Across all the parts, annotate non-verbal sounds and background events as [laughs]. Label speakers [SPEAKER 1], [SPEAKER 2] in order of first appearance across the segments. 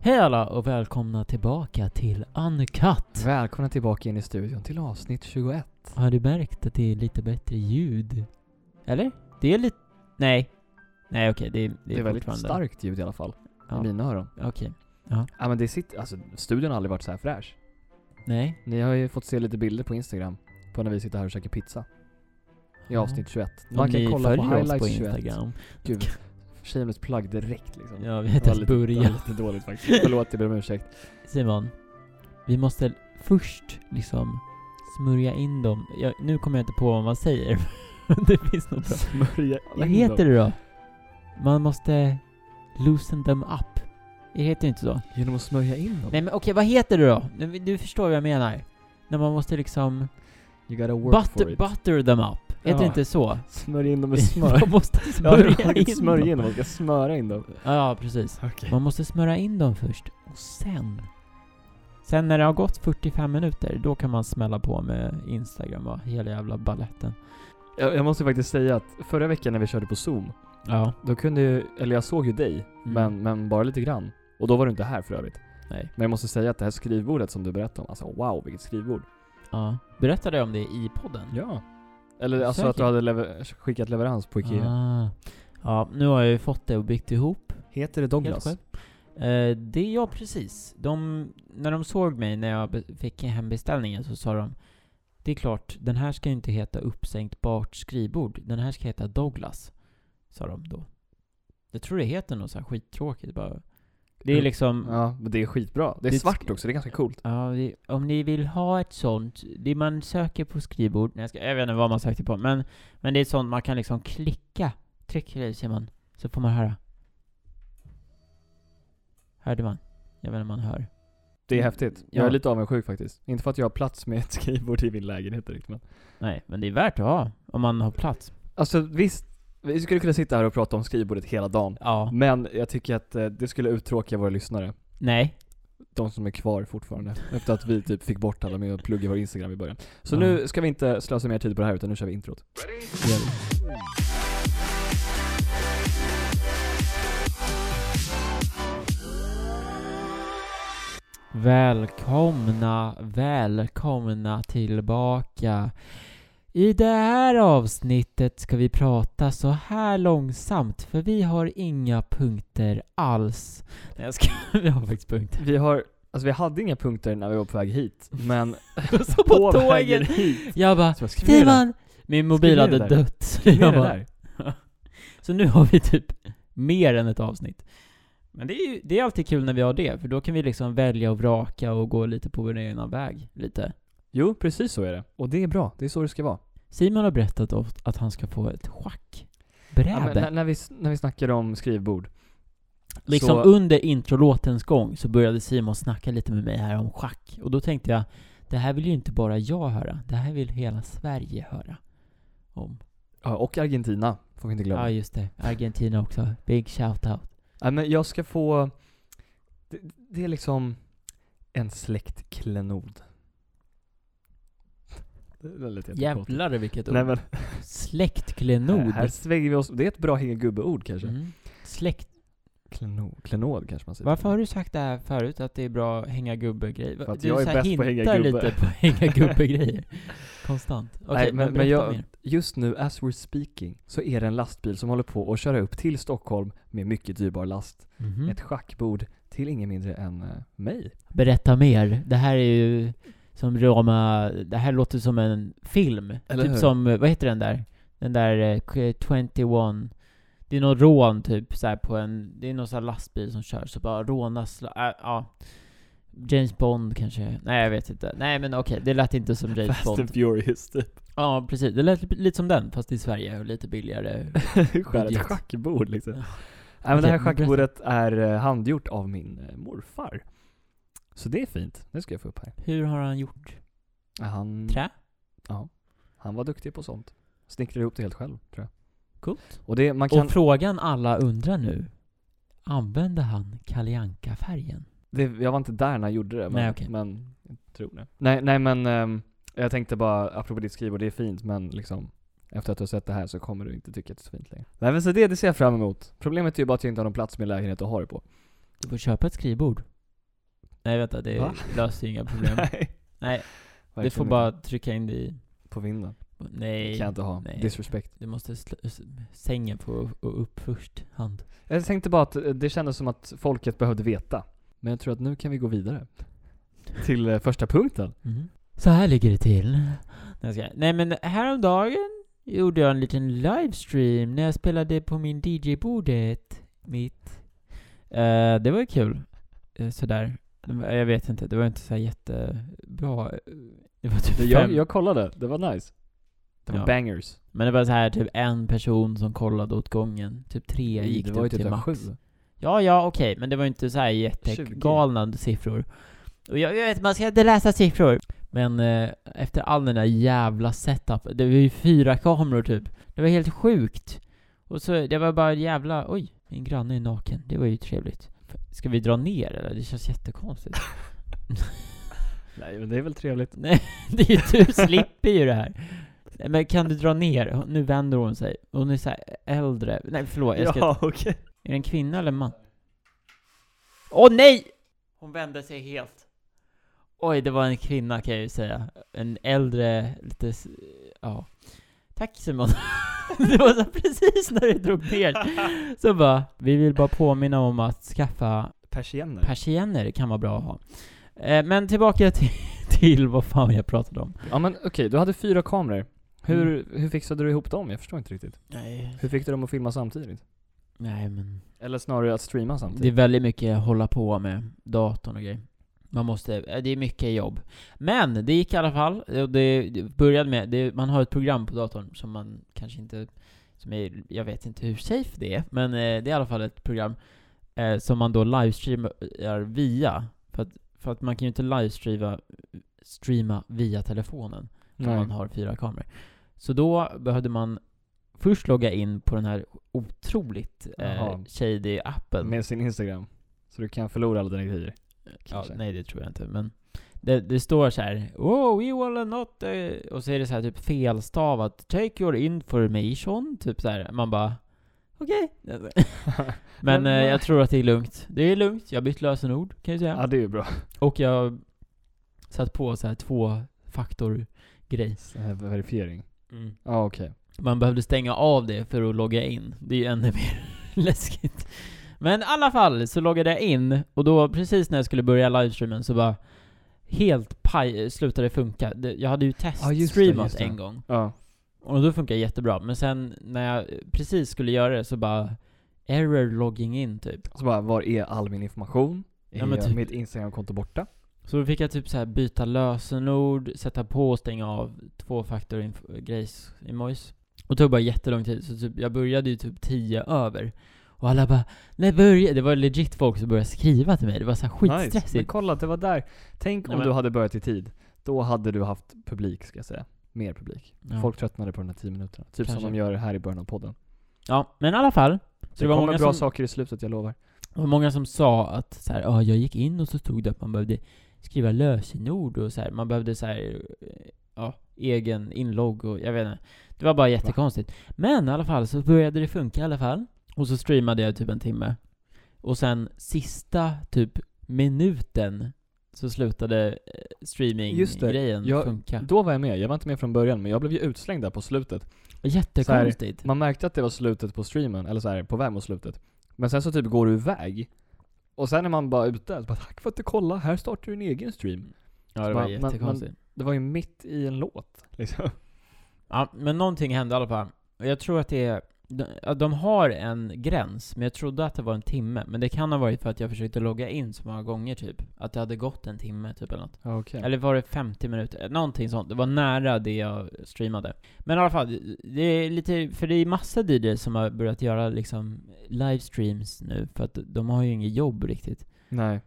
[SPEAKER 1] Hej alla och välkomna tillbaka till Uncut!
[SPEAKER 2] Välkomna tillbaka in i studion till avsnitt 21.
[SPEAKER 1] Har du märkt att det är lite bättre ljud? Eller? Det är lite... Nej. Nej okej, det, är-
[SPEAKER 2] Det
[SPEAKER 1] det
[SPEAKER 2] är
[SPEAKER 1] är
[SPEAKER 2] väldigt
[SPEAKER 1] fortfarande-
[SPEAKER 2] starkt ljud i alla fall.
[SPEAKER 1] Ja.
[SPEAKER 2] I mina öron.
[SPEAKER 1] Okej.
[SPEAKER 2] Ja men det sitter, alltså studion har aldrig varit så här fräsch.
[SPEAKER 1] Nej.
[SPEAKER 2] Ni har ju fått se lite bilder på Instagram på när vi sitter här och käkar pizza. I
[SPEAKER 1] Ja.
[SPEAKER 2] avsnitt 21.
[SPEAKER 1] Om ni följer oss på Instagram.
[SPEAKER 2] Gud, shameless plug direkt liksom.
[SPEAKER 1] Ja, vi
[SPEAKER 2] Det
[SPEAKER 1] har inte
[SPEAKER 2] var
[SPEAKER 1] ens
[SPEAKER 2] lite, det var
[SPEAKER 1] börjat.
[SPEAKER 2] lite dåligt faktiskt. [laughs] Förlåt, jag ber om ursäkt.
[SPEAKER 1] Simon. Vi måste först liksom smörja in dem. Jag, nu kommer jag inte på vad man säger. [laughs] men det finns något bra.
[SPEAKER 2] Smörja
[SPEAKER 1] Vad
[SPEAKER 2] in
[SPEAKER 1] heter
[SPEAKER 2] dem.
[SPEAKER 1] det då? Man måste loosen them up. Det heter ju inte så.
[SPEAKER 2] Genom att smörja in dem?
[SPEAKER 1] Nej men okej, vad heter det då? Nu- Du förstår vad jag menar. När man måste liksom
[SPEAKER 2] You gotta work for
[SPEAKER 1] butter,
[SPEAKER 2] it.
[SPEAKER 1] butter them up. Heter det
[SPEAKER 2] Ja.
[SPEAKER 1] inte så?
[SPEAKER 2] Smörja in
[SPEAKER 1] [laughs]
[SPEAKER 2] dem [laughs] med smör.
[SPEAKER 1] man måste
[SPEAKER 2] Ja,
[SPEAKER 1] smörja
[SPEAKER 2] du har
[SPEAKER 1] in
[SPEAKER 2] inte smörja in
[SPEAKER 1] dem.
[SPEAKER 2] dem, man ska smöra in dem.
[SPEAKER 1] Ja, precis.
[SPEAKER 2] Okej.
[SPEAKER 1] Man måste smörja in dem först, och sen... Sen när det har gått 45 minuter, då kan man smälla på med Instagram och hela jävla balletten.
[SPEAKER 2] Jag, jag måste faktiskt säga att förra veckan när vi körde på zoom,
[SPEAKER 1] Ja.
[SPEAKER 2] då kunde ju, eller jag såg ju dig,
[SPEAKER 1] Mm.
[SPEAKER 2] men, men bara lite grann. Och då var du inte här för övrigt.
[SPEAKER 1] Nej.
[SPEAKER 2] Men jag måste säga att det här skrivbordet som du berättade om, alltså wow vilket skrivbord.
[SPEAKER 1] Ja. Berättade jag om det i podden?
[SPEAKER 2] Ja. Eller alltså att du
[SPEAKER 1] Säkert.
[SPEAKER 2] hade lever- skickat leverans på Ikea.
[SPEAKER 1] Ah. Ja, nu har jag ju fått det och byggt ihop.
[SPEAKER 2] Heter det
[SPEAKER 1] Helt
[SPEAKER 2] Douglas?
[SPEAKER 1] själv. Eh, det är jag precis. De, när de såg mig när jag be- fick hem beställningen så sa de Det är klart, den här ska ju inte heta uppsänkbart skrivbord. Den här ska heta Douglas. Sa de då. Jag tror det heter något så här skittråkigt bara. Det är
[SPEAKER 2] Mm.
[SPEAKER 1] liksom
[SPEAKER 2] Ja, men det är skitbra. Det är
[SPEAKER 1] Det är
[SPEAKER 2] svart också, det är ganska coolt.
[SPEAKER 1] Ja, vi, om ni vill ha ett sånt, det man söker på skrivbord, nej, jag, ska, jag vet inte vad man sökte på, men, men det är ett sånt man kan liksom klicka. Trycker det ser man, så får man höra. Hörde man? Jag vet inte om man hör.
[SPEAKER 2] Det är häftigt. Jag
[SPEAKER 1] Ja.
[SPEAKER 2] är lite avundsjuk faktiskt. Inte för att jag har plats med ett [laughs] skrivbord i min lägenhet direkt men.
[SPEAKER 1] Nej, men det är värt att ha, om man har plats.
[SPEAKER 2] Alltså visst, vi skulle kunna sitta här och prata om skrivbordet hela dagen.
[SPEAKER 1] Ja.
[SPEAKER 2] Men jag tycker att eh, det skulle uttråka våra lyssnare.
[SPEAKER 1] Nej.
[SPEAKER 2] de som är kvar fortfarande. Efter att vi typ fick bort alla med att plugga vår Instagram i början. Så
[SPEAKER 1] Ja.
[SPEAKER 2] nu ska vi inte slösa mer tid på det här utan nu kör vi introt.
[SPEAKER 1] det gör vi. Välkomna, välkomna tillbaka. I det här avsnittet ska vi prata så här långsamt för vi har inga punkter alls. Nej jag ska, [laughs] vi har faktiskt punkter.
[SPEAKER 2] Vi har, alltså vi hade inga punkter när vi var på väg hit, men
[SPEAKER 1] Så [laughs]
[SPEAKER 2] på
[SPEAKER 1] på
[SPEAKER 2] vägen
[SPEAKER 1] tåget!
[SPEAKER 2] hit.
[SPEAKER 1] Jag bara
[SPEAKER 2] Så jag skrev ner det.
[SPEAKER 1] Simon! Min mobil
[SPEAKER 2] Skriv ner
[SPEAKER 1] hade
[SPEAKER 2] det där.
[SPEAKER 1] dött. Så
[SPEAKER 2] Skrev ner
[SPEAKER 1] jag
[SPEAKER 2] det
[SPEAKER 1] bara,
[SPEAKER 2] där.
[SPEAKER 1] Så nu har vi typ mer än ett avsnitt. Men det är ju det är alltid kul när vi har det, för då kan vi liksom välja och vraka och gå lite på vår egna väg. Lite.
[SPEAKER 2] Jo, precis så är det. Och det är bra, det är så det ska vara.
[SPEAKER 1] Simon har berättat of- att han ska få ett
[SPEAKER 2] Ja, men
[SPEAKER 1] schackbräde.
[SPEAKER 2] när, när, vi, s- när vi snackade om skrivbord.
[SPEAKER 1] liksom
[SPEAKER 2] så,
[SPEAKER 1] under introlåtens gång så började Simon snacka lite med mig här om schack. Och då tänkte jag, det här vill ju inte bara jag höra, det här vill hela Sverige höra. Om.
[SPEAKER 2] ja, och Argentina, får vi inte glömma.
[SPEAKER 1] Ja just det, Argentina också. Big shout-out.
[SPEAKER 2] Ja, men jag ska få, det, det är liksom en släktklenod. Det lät jättekonstigt.
[SPEAKER 1] Jävlar vilket ord.
[SPEAKER 2] Nej men
[SPEAKER 1] Släktklenod.
[SPEAKER 2] Här svänger vi oss. Det är ett bra hänga-gubbe-ord kanske.
[SPEAKER 1] Mm. Släkt.
[SPEAKER 2] Klenod. Klenod kanske man säger.
[SPEAKER 1] Varför har du sagt det här förut, att det är bra hänga gubbe-grej?
[SPEAKER 2] För att
[SPEAKER 1] du
[SPEAKER 2] jag är
[SPEAKER 1] så här
[SPEAKER 2] bäst på hänga
[SPEAKER 1] hintar
[SPEAKER 2] gubbe.
[SPEAKER 1] lite på hänga gubbe-grejer. Konstant. Okej,
[SPEAKER 2] Nej,
[SPEAKER 1] men,
[SPEAKER 2] men,
[SPEAKER 1] berätta
[SPEAKER 2] men jag,
[SPEAKER 1] mer.
[SPEAKER 2] just nu, as we're speaking, så är det en lastbil som håller på att köra upp till Stockholm med mycket dyrbar last.
[SPEAKER 1] Mhm.
[SPEAKER 2] Ett schackbord till ingen mindre än eh, mig.
[SPEAKER 1] Berätta mer. Det här är ju som Roma, det här låter som en film.
[SPEAKER 2] Eller
[SPEAKER 1] typ
[SPEAKER 2] hur?
[SPEAKER 1] som, eh, vad heter den där? Den där eh, k- 21. Det är någon rån typ så här på en, det är någon sån här lastbil som kör, så bara rånas, la- äh, ja. James Bond kanske? Nej jag vet inte. Nej men okej, det lät inte som James
[SPEAKER 2] Fast
[SPEAKER 1] Bond.
[SPEAKER 2] and furious typ.
[SPEAKER 1] Ja precis, det lät li- lite som den fast i Sverige och lite billigare.
[SPEAKER 2] Skär ett
[SPEAKER 1] Budget.
[SPEAKER 2] schackbord liksom.
[SPEAKER 1] Ja.
[SPEAKER 2] Nej, men det
[SPEAKER 1] Okej,
[SPEAKER 2] här
[SPEAKER 1] men berätta.
[SPEAKER 2] schackbordet är eh, handgjort av min eh, morfar. Så det är fint. Det ska jag få upp här.
[SPEAKER 1] Hur har han gjort?
[SPEAKER 2] Han,
[SPEAKER 1] Trä?
[SPEAKER 2] han var duktig på sånt. Snickrade ihop det helt själv, tror jag.
[SPEAKER 1] Coolt.
[SPEAKER 2] Och det, man kan,
[SPEAKER 1] Och frågan alla undrar nu, använde han Kalle färgen
[SPEAKER 2] Det, jag var inte där när jag gjorde det, men,
[SPEAKER 1] Nej, okej.
[SPEAKER 2] men jag tror det. Nej, nej men ehm, jag tänkte bara, apropå ditt skrivbord, det är fint men liksom efter att du har sett det här så kommer du inte tycka att det är så fint längre. Nej men så det, det ser jag fram emot. Problemet är ju bara att jag inte har någon plats med lägenhet att ha det på.
[SPEAKER 1] Du får köpa ett skrivbord. Nej vänta, det
[SPEAKER 2] Va?
[SPEAKER 1] löser ju inga problem.
[SPEAKER 2] [laughs] Nej.
[SPEAKER 1] Nej, du
[SPEAKER 2] verkligen
[SPEAKER 1] får
[SPEAKER 2] inte.
[SPEAKER 1] bara trycka in det i...
[SPEAKER 2] På vinden.
[SPEAKER 1] Nej.
[SPEAKER 2] Kan jag inte ha.
[SPEAKER 1] nej.
[SPEAKER 2] Disrespect.
[SPEAKER 1] Du måste sl- s- sängen få u- upp först, hand.
[SPEAKER 2] Jag tänkte bara att eh, det kändes som att folket behövde veta. Men jag tror att nu kan vi gå vidare. Till eh, första punkten.
[SPEAKER 1] Så här ligger det till. Nej, jag skojar. Nej men häromdagen gjorde jag en liten livestream när jag spelade på min DJ-bordet. Mitt. Eh, det var ju kul. Eh, sådär. Det var- Jag vet inte, det var inte så här jättebra. Eh, Det var typ
[SPEAKER 2] Det- Jag,
[SPEAKER 1] fem.
[SPEAKER 2] jag kollade, det var nice. Det var
[SPEAKER 1] Ja.
[SPEAKER 2] bangers.
[SPEAKER 1] Men det var så här typ en person som kollade åt gången. Typ tre gick
[SPEAKER 2] det
[SPEAKER 1] det
[SPEAKER 2] var ju
[SPEAKER 1] upp
[SPEAKER 2] typ
[SPEAKER 1] till
[SPEAKER 2] en
[SPEAKER 1] max.
[SPEAKER 2] sju.
[SPEAKER 1] Ja, ja, okej, men det var ju inte så här
[SPEAKER 2] 20.
[SPEAKER 1] jättegalna siffror. Och jag, jag vet, man ska inte läsa siffror. Men eh, efter all den där jävla setup, det var ju fyra kameror typ. Det var helt sjukt. Och så, det var bara jävla, oj, min granne är naken. Det var ju trevligt. Ska vi dra ner eller? Det känns jättekonstigt.
[SPEAKER 2] Nej men det är väl
[SPEAKER 1] [laughs]
[SPEAKER 2] trevligt.
[SPEAKER 1] Nej, det är ju, du slipper ju det här. Nej, Men kan du dra ner? Nu vänder hon sig. Hon är så här äldre. Nej, förlåt, jag ska
[SPEAKER 2] [laughs] okej.
[SPEAKER 1] Är det en kvinna eller en man? Åh nej! Hon vände sig helt. Oj, det var en kvinna kan jag ju säga. En äldre, lite... s- Ja. Tack Simon. [laughs] det var så precis när du drog ner. Så bara, vi vill bara påminna om att skaffa
[SPEAKER 2] Persienner.
[SPEAKER 1] persienner, kan vara bra att ha. Eh, Men tillbaka till, till vad fan jag pratade om.
[SPEAKER 2] ja men okej, du hade fyra kameror. Hur, hur fixade du ihop dem? Jag förstår inte riktigt.
[SPEAKER 1] Nej.
[SPEAKER 2] Hur fick du dem att filma samtidigt?
[SPEAKER 1] Nej men.
[SPEAKER 2] Eller snarare att streama
[SPEAKER 1] Det är
[SPEAKER 2] samtidigt?
[SPEAKER 1] väldigt mycket hålla på med datorn och grejer. Man måste, eh, det är mycket jobb. Men det gick i alla fall. Och det det började med, det, man har ett program på datorn som man kanske inte, som är, jag vet inte hur safe det är, men eh, det är i alla fall ett program eh, som man då livestreamar eh, via. För att, för att man kan ju inte livestreama streama via telefonen om man har fyra kameror. Så då behövde man först logga in på den här otroligt eh,
[SPEAKER 2] Jaha.
[SPEAKER 1] shady appen.
[SPEAKER 2] Med sin Instagram. Så du kan förlora alla dina [laughs] grejer.
[SPEAKER 1] Ja,
[SPEAKER 2] Kanske.
[SPEAKER 1] nej det tror jag inte, men det, det står så här Wow, you will not... eh," Och så är det så här typ felstavat Take your information, typ så här. Man bara Okej. men eh, jag tror att det är lugnt. Det är lugnt, jag har bytt lösenord kan jag säga.
[SPEAKER 2] ja det är ju bra.
[SPEAKER 1] Och jag satt på så här två faktor grej.
[SPEAKER 2] Så här Eh, Verifiering. Ja okej.
[SPEAKER 1] Man behövde stänga av det för att logga in. Det är ju ännu [laughs] mer läskigt. Men i alla fall så loggade jag in och då precis när jag skulle börja livestreamen så bara helt paj slutade det funka. Det- Jag hade ju
[SPEAKER 2] Ja, just det,
[SPEAKER 1] teststreamat
[SPEAKER 2] just det.
[SPEAKER 1] en gång
[SPEAKER 2] Ja.
[SPEAKER 1] och då funkade det jättebra. Men sen när jag precis skulle göra det så bara error logging in typ.
[SPEAKER 2] Så bara, var är all min information? Är
[SPEAKER 1] Ja, men typ-
[SPEAKER 2] mitt Instagramkonto borta?
[SPEAKER 1] Så då fick jag typ så här byta lösenord, sätta på och stänga av tvåfaktor-grejs i Mois. Och det tog bara jättelång tid, så typ, jag började ju typ tio över. Och alla bara 'När börjar?' Det var legit folk som började skriva till mig, det var så här skitstressigt.
[SPEAKER 2] Men kolla, det var där. Tänk
[SPEAKER 1] Nej,
[SPEAKER 2] om
[SPEAKER 1] men-
[SPEAKER 2] du hade börjat i tid. Då hade du haft publik, ska jag säga. Mer publik.
[SPEAKER 1] ja.
[SPEAKER 2] Folk tröttnade på de här 10 minuterna. Typ
[SPEAKER 1] Kanske.
[SPEAKER 2] som de gör här i början av podden.
[SPEAKER 1] ja, men i alla fall.
[SPEAKER 2] Så
[SPEAKER 1] Så
[SPEAKER 2] det,
[SPEAKER 1] det var
[SPEAKER 2] kommer
[SPEAKER 1] många,
[SPEAKER 2] bra
[SPEAKER 1] som,
[SPEAKER 2] saker i slutet, jag lovar.
[SPEAKER 1] det var många som sa att så här, "Ja, jag gick in och så stod det att man behövde skriva lösenord och så här, man behövde så här, eh, ja, egen inlogg och jag vet inte. Det var bara jättekonstigt. Men i alla fall så började det funka i alla fall. Och så streamade jag typ en timme. Och sen sista typ minuten så slutade eh,
[SPEAKER 2] Just det.
[SPEAKER 1] streaminggrejen
[SPEAKER 2] Jag-
[SPEAKER 1] funka.
[SPEAKER 2] Då var jag med. Jag var inte med från början, men jag blev ju utslängd där på slutet.
[SPEAKER 1] Typ. Jättekonstigt.
[SPEAKER 2] Man märkte att det var slutet på streamen, eller så här, på väg mot slutet. Men sen så typ går du iväg. Och sen är man bara ute. Så bara, Tack för att du kollade, här startar du en egen stream.
[SPEAKER 1] Ja, det var
[SPEAKER 2] man- man- man-
[SPEAKER 1] jättekonstigt.
[SPEAKER 2] Det var ju mitt i en låt, liksom.
[SPEAKER 1] Ja, men någonting hände i alla fall. Och Jag tror att det är... De, ja, de har en gräns, men jag trodde att det var en timme. Men det kan ha varit för att jag försökte logga in så många gånger typ. Att det hade gått en timme typ eller något.
[SPEAKER 2] Okej.
[SPEAKER 1] Eller var det 50 minuter? Någonting sånt. Det var nära det jag streamade. Men i alla fall, det är lite, för det är massa DJs som har börjat göra liksom livestreams nu. För att de har ju inget jobb riktigt.
[SPEAKER 2] Nej.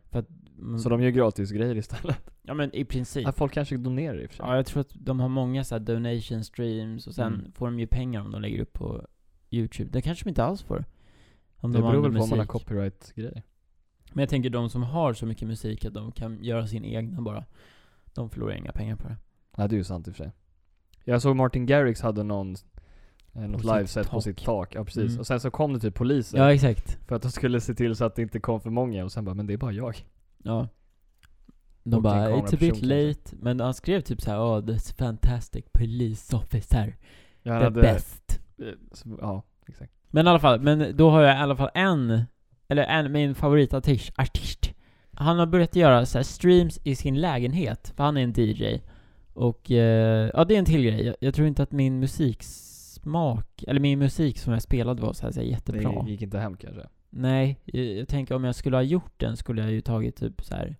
[SPEAKER 1] Mm,
[SPEAKER 2] Så de gör gratisgrejer istället.
[SPEAKER 1] Ja men i princip.
[SPEAKER 2] Ja, folk kanske donerar i och för sig.
[SPEAKER 1] Ja, jag tror att de har många så här donation streams och sen
[SPEAKER 2] Mm.
[SPEAKER 1] får de ju pengar om de lägger upp på YouTube. Det kanske de inte alls får. Om
[SPEAKER 2] det beror
[SPEAKER 1] använder
[SPEAKER 2] väl på om man har
[SPEAKER 1] musik.
[SPEAKER 2] copyright-grejer.
[SPEAKER 1] Men jag tänker de som har så mycket musik att de kan göra sin egna bara. De förlorar inga pengar på det.
[SPEAKER 2] Nej, det är ju sant i och för sig. Jag såg Martin Garrix hade någon, eh, något
[SPEAKER 1] sitt
[SPEAKER 2] liveset på
[SPEAKER 1] tak.
[SPEAKER 2] sitt tak. Ja, precis.
[SPEAKER 1] Mm.
[SPEAKER 2] Och sen så kom det typ poliser
[SPEAKER 1] Ja, exakt.
[SPEAKER 2] för att de skulle se till så att det inte kom för många och sen bara 'Men det är bara jag'
[SPEAKER 1] Ja. De
[SPEAKER 2] Och
[SPEAKER 1] bara 'It's
[SPEAKER 2] en
[SPEAKER 1] a bit
[SPEAKER 2] kameraperson kanske."
[SPEAKER 1] late' Men han skrev typ såhär 'Oh this fantastic police officer,
[SPEAKER 2] Jag
[SPEAKER 1] the best'
[SPEAKER 2] eh, så- Ja, exakt.
[SPEAKER 1] Men i alla fall, men då har jag i alla fall en, eller en, min favoritartist, artist. Han har börjat göra så här streams i sin lägenhet, för han är en DJ. Och, eh, ja det är en till grej. Jag, jag tror inte att min musiksmak, eller min musik som jag spelade var så här, så här
[SPEAKER 2] Det
[SPEAKER 1] jättebra.
[SPEAKER 2] gick inte hem kanske.
[SPEAKER 1] Nej, jag, jag tänker om jag skulle ha gjort den skulle jag ju tagit typ så här.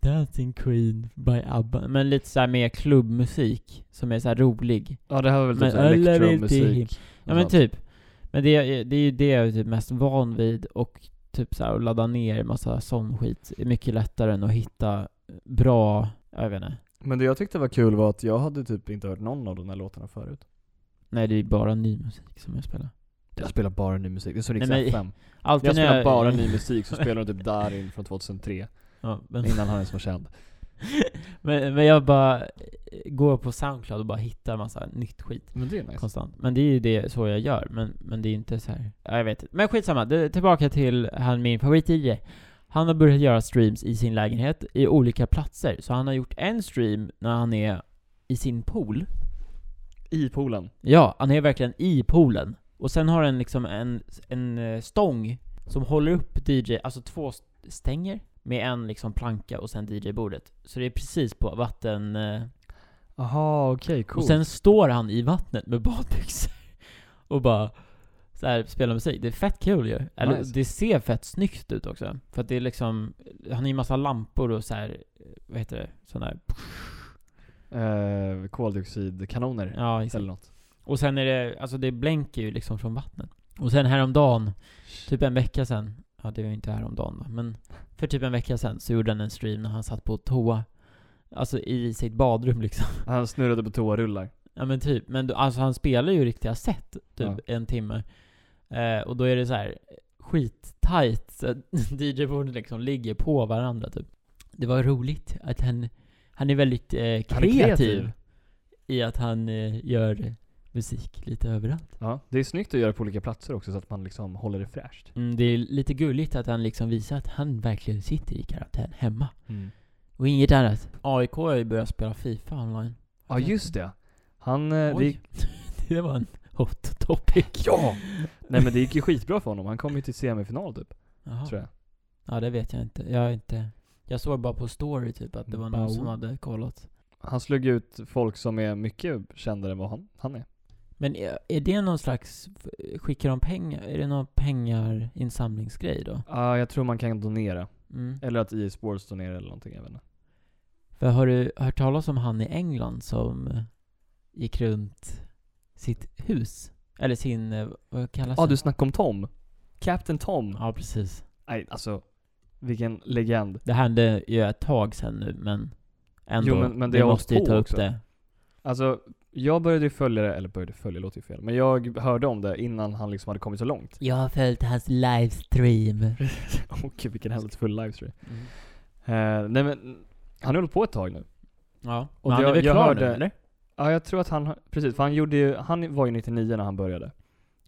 [SPEAKER 1] Dancing Queen by ABBA. Men lite så här mer klubbmusik, som är så här rolig.
[SPEAKER 2] Ja det här var väl typ
[SPEAKER 1] Men
[SPEAKER 2] så här
[SPEAKER 1] alla vill till-
[SPEAKER 2] elektromusik.
[SPEAKER 1] Ja men typ. Men det, det är ju det jag är typ mest van vid och typ så här att ladda ner massa sån skit är mycket lättare än att hitta bra, jag vet inte.
[SPEAKER 2] Men det jag tyckte var kul var att jag hade typ inte hört någon av de där låtarna förut.
[SPEAKER 1] Nej det är ju bara ny musik som jag spelar.
[SPEAKER 2] Jag spelar bara ny musik, det är så Rix
[SPEAKER 1] Nej, men-
[SPEAKER 2] FM.
[SPEAKER 1] Alltid
[SPEAKER 2] Jag
[SPEAKER 1] när [laughs]
[SPEAKER 2] spelar bara ny musik, så spelar de typ Darin från 2003.
[SPEAKER 1] Ja, men,
[SPEAKER 2] Innan han ens var känd.
[SPEAKER 1] men, men jag bara eh, går på Soundcloud och bara hittar massa nytt skit
[SPEAKER 2] Men det är nice.
[SPEAKER 1] konstant. Men det är ju det så jag gör, men, men det är inte så här. Ja, jag vet inte. Men skitsamma, det, tillbaka till han min favorit DJ. Han har börjat göra streams i sin lägenhet i olika platser. Så han har gjort en stream när han är i sin pool.
[SPEAKER 2] I poolen.
[SPEAKER 1] Ja, han är verkligen i poolen. Och sen har han liksom en, en eh, stång som håller upp DJ, alltså två s- stänger med en liksom planka och sen DJ-bordet. Så det är precis på vatten... Eh,
[SPEAKER 2] Aha, okej,
[SPEAKER 1] och sen står han i vattnet med badbyxor och bara så här, spelar musik. Det är fett kul ju. Eller
[SPEAKER 2] Nice.
[SPEAKER 1] det ser fett snyggt ut också. För att det är liksom, han har ju massa lampor och så här, vad heter det? Sån där,
[SPEAKER 2] eh, koldioxidkanoner.
[SPEAKER 1] ja exakt.
[SPEAKER 2] Eller något.
[SPEAKER 1] Och sen är det, alltså det blänker ju liksom från vattnet. Och sen häromdagen, typ en vecka sen, ja det var ju inte häromdagen då, men för typ en vecka sen så gjorde han en stream när han satt på toa. Alltså i sitt badrum liksom.
[SPEAKER 2] Han snurrade på toarullar.
[SPEAKER 1] Ja men typ, men då- alltså han spelar ju riktiga set, typ
[SPEAKER 2] Ja.
[SPEAKER 1] en timme. Eh, och då är det så här skittajt, så att [laughs] DJ-borden liksom ligger på varandra typ. Det var roligt att han, han är väldigt eh, kreativ,
[SPEAKER 2] kreativ.
[SPEAKER 1] i att han eh, gör musik lite överallt.
[SPEAKER 2] Ja. Det är snyggt att göra på olika platser också så att man liksom håller det fräscht.
[SPEAKER 1] Mm, det är lite gulligt att han liksom visar att han verkligen sitter i karantän hemma.
[SPEAKER 2] Mm.
[SPEAKER 1] Och inget annat. AIK har ju börjat spela Fifa online.
[SPEAKER 2] Ja just det. Han, eh, det gick,
[SPEAKER 1] Oj, [laughs] det var en hot topic.
[SPEAKER 2] Ja! nej men det gick ju skitbra för honom. Han kom ju till semifinal typ,
[SPEAKER 1] Jaha.
[SPEAKER 2] tror jag.
[SPEAKER 1] Ja, det vet jag inte. Jag har inte... Jag såg bara på story typ att det var någon
[SPEAKER 2] Bao.
[SPEAKER 1] som hade kollat.
[SPEAKER 2] Han slog ut folk som är mycket kändare än vad han, han är.
[SPEAKER 1] Men är, är det någon slags... Skickar de pengar? Är det någon pengarinsamlingsgrej då?
[SPEAKER 2] Ja, jag tror man kan donera.
[SPEAKER 1] Mm.
[SPEAKER 2] Eller att EA Sports donerar eller någonting, jag vet inte.
[SPEAKER 1] För har du hört talas om han i England som eh, gick runt sitt hus? Eller sin... eh, Vad kallas
[SPEAKER 2] Ja,
[SPEAKER 1] det?
[SPEAKER 2] du snackade om Tom. Captain Tom.
[SPEAKER 1] Ja, precis.
[SPEAKER 2] Nej, alltså. Vilken legend.
[SPEAKER 1] Det hände ju ett tag sen nu, men... Ändå.
[SPEAKER 2] Jo, men- men det
[SPEAKER 1] vi
[SPEAKER 2] har hållit
[SPEAKER 1] måste ju
[SPEAKER 2] på
[SPEAKER 1] ta upp
[SPEAKER 2] också.
[SPEAKER 1] det.
[SPEAKER 2] Alltså, jag började ju följa det, eller började följa, låter ju fel. Men jag hörde om det innan han liksom hade kommit så [laughs] långt.
[SPEAKER 1] Jag har följt hans livestream.
[SPEAKER 2] Åh gud, vilken händelsefull livestream. Eh, nej men, han har hållit på ett tag nu.
[SPEAKER 1] [laughs] Ja.
[SPEAKER 2] Och
[SPEAKER 1] men han
[SPEAKER 2] jag-
[SPEAKER 1] är väl
[SPEAKER 2] jag
[SPEAKER 1] klar
[SPEAKER 2] hörde-
[SPEAKER 1] nu, eller?
[SPEAKER 2] Ja, jag tror att han, precis, för han gjorde ju, han var ju 99 när han började.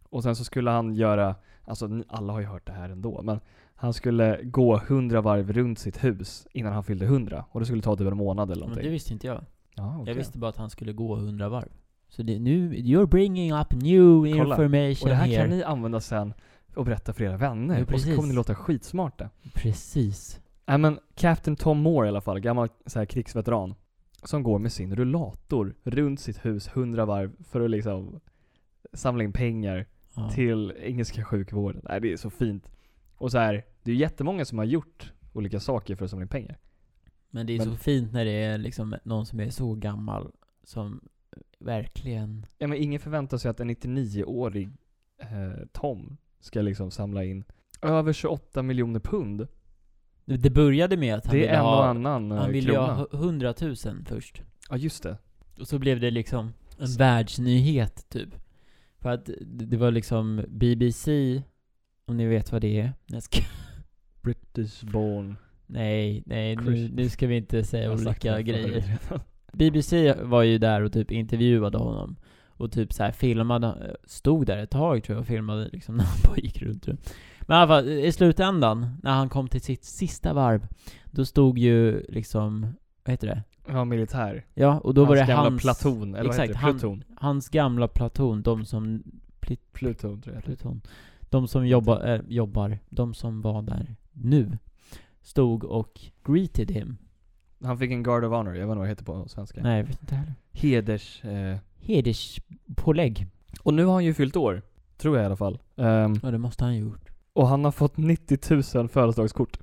[SPEAKER 2] Och sen så skulle han göra, alltså ni- alla har ju hört det här ändå, men han skulle gå 100 varv runt sitt hus innan han fyllde 100. Och det skulle ta typ en månad eller
[SPEAKER 1] Men det
[SPEAKER 2] någonting.
[SPEAKER 1] visste inte jag.
[SPEAKER 2] Ja, okej.
[SPEAKER 1] Jag visste bara att han skulle gå 100 varv. Så det, nu, you're bringing up new
[SPEAKER 2] Kolla.
[SPEAKER 1] information
[SPEAKER 2] Och det här
[SPEAKER 1] here.
[SPEAKER 2] kan ni använda sen och berätta för era vänner.
[SPEAKER 1] Jo,
[SPEAKER 2] och så kommer
[SPEAKER 1] precis.
[SPEAKER 2] ni låta skitsmarta.
[SPEAKER 1] Precis.
[SPEAKER 2] Nej men Captain Tom Moore i alla fall, gammal så här, krigsveteran. Som går med sin rullator runt sitt hus 100 varv för att liksom samla in pengar
[SPEAKER 1] Ja.
[SPEAKER 2] till engelska sjukvården. Nej det är så fint. Och så här, det är ju jättemånga som har gjort olika saker för att samla in pengar.
[SPEAKER 1] Men det är
[SPEAKER 2] men-
[SPEAKER 1] så fint när det är liksom någon som är så gammal som verkligen...
[SPEAKER 2] Ja men ingen förväntar sig att en 99-årig eh, Tom ska liksom samla in över 28 miljoner pund.
[SPEAKER 1] Det började med att han
[SPEAKER 2] det
[SPEAKER 1] ville
[SPEAKER 2] är en och
[SPEAKER 1] ha...
[SPEAKER 2] annan eh,
[SPEAKER 1] Han ville ju
[SPEAKER 2] krona.
[SPEAKER 1] ha hu- 100 000 först.
[SPEAKER 2] Ja just det.
[SPEAKER 1] Och så blev det liksom en
[SPEAKER 2] Så-
[SPEAKER 1] världsnyhet, typ. För att det- det var liksom BBC, om ni vet vad det är. Nej, jag ska- [laughs]
[SPEAKER 2] British born.
[SPEAKER 1] Nej, nej, nu,
[SPEAKER 2] Chris-
[SPEAKER 1] nu ska vi inte
[SPEAKER 2] Jag
[SPEAKER 1] säga
[SPEAKER 2] har sagt det
[SPEAKER 1] olika
[SPEAKER 2] här
[SPEAKER 1] grejer.
[SPEAKER 2] förut redan.
[SPEAKER 1] BBC var ju där och typ intervjuade honom och typ så här filmade, stod där ett tag tror jag och filmade liksom [laughs] när han bara gick runt. runt. Men i alla fall, i slutändan, när han kom till sitt sista varv, Då stod ju liksom, vad heter det?
[SPEAKER 2] Ja, militär.
[SPEAKER 1] Ja, och då var det
[SPEAKER 2] gamla
[SPEAKER 1] hans,
[SPEAKER 2] platon, eller
[SPEAKER 1] exakt,
[SPEAKER 2] vad
[SPEAKER 1] han-
[SPEAKER 2] heter det? Pluton.
[SPEAKER 1] hans gamla platon, de som... Plit,
[SPEAKER 2] Pluton tror jag.
[SPEAKER 1] pluton. De som jobba, eh, jobbar, de som var där nu, stod och greeted him.
[SPEAKER 2] Han fick en Guard of Honor, jag vet inte vad det heter på svenska.
[SPEAKER 1] Nej, jag vet inte heller.
[SPEAKER 2] Heders... Eh.
[SPEAKER 1] Hederspålägg.
[SPEAKER 2] Och nu har han ju fyllt år. Tror jag i alla fall. Ehm,
[SPEAKER 1] Ja, det måste han ju gjort.
[SPEAKER 2] och han har fått 90 000 födelsedagskort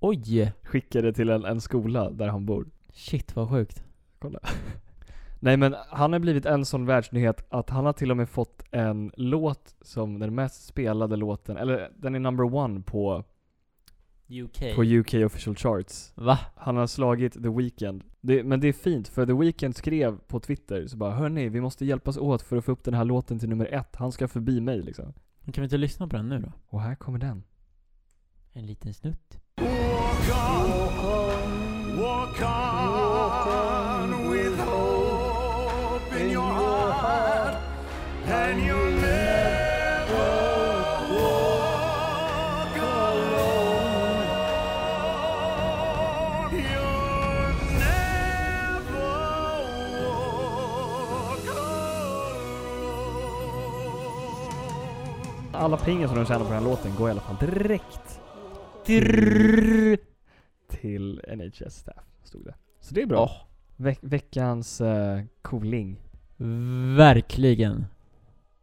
[SPEAKER 1] Oj!
[SPEAKER 2] skickade till en, en skola där han bor.
[SPEAKER 1] Shit vad sjukt.
[SPEAKER 2] Nej men han har blivit en sån världsnyhet att han har till och med fått en låt som den mest spelade låten, eller den är number one på,
[SPEAKER 1] UK.
[SPEAKER 2] på UK official charts.
[SPEAKER 1] Va?
[SPEAKER 2] Han har slagit The Weeknd. Det, men det är fint för The Weeknd skrev på Twitter så bara hörni, vi måste hjälpas åt för att få upp den här låten till nummer ett, han ska förbi mig liksom.
[SPEAKER 1] Kan vi inte lyssna på den nu då?
[SPEAKER 2] Och här kommer den.
[SPEAKER 1] En liten snutt.
[SPEAKER 3] Walk on, walk on with hope in your heart, and you'll never walk alone. You'll never walk alone.
[SPEAKER 2] Alla pengar som de tjänar på den här låten går i alla fall direkt till NHS staff, stod det. Så det är bra.
[SPEAKER 1] Åh,
[SPEAKER 2] Ve- veckans uh, cooling.
[SPEAKER 1] Verkligen.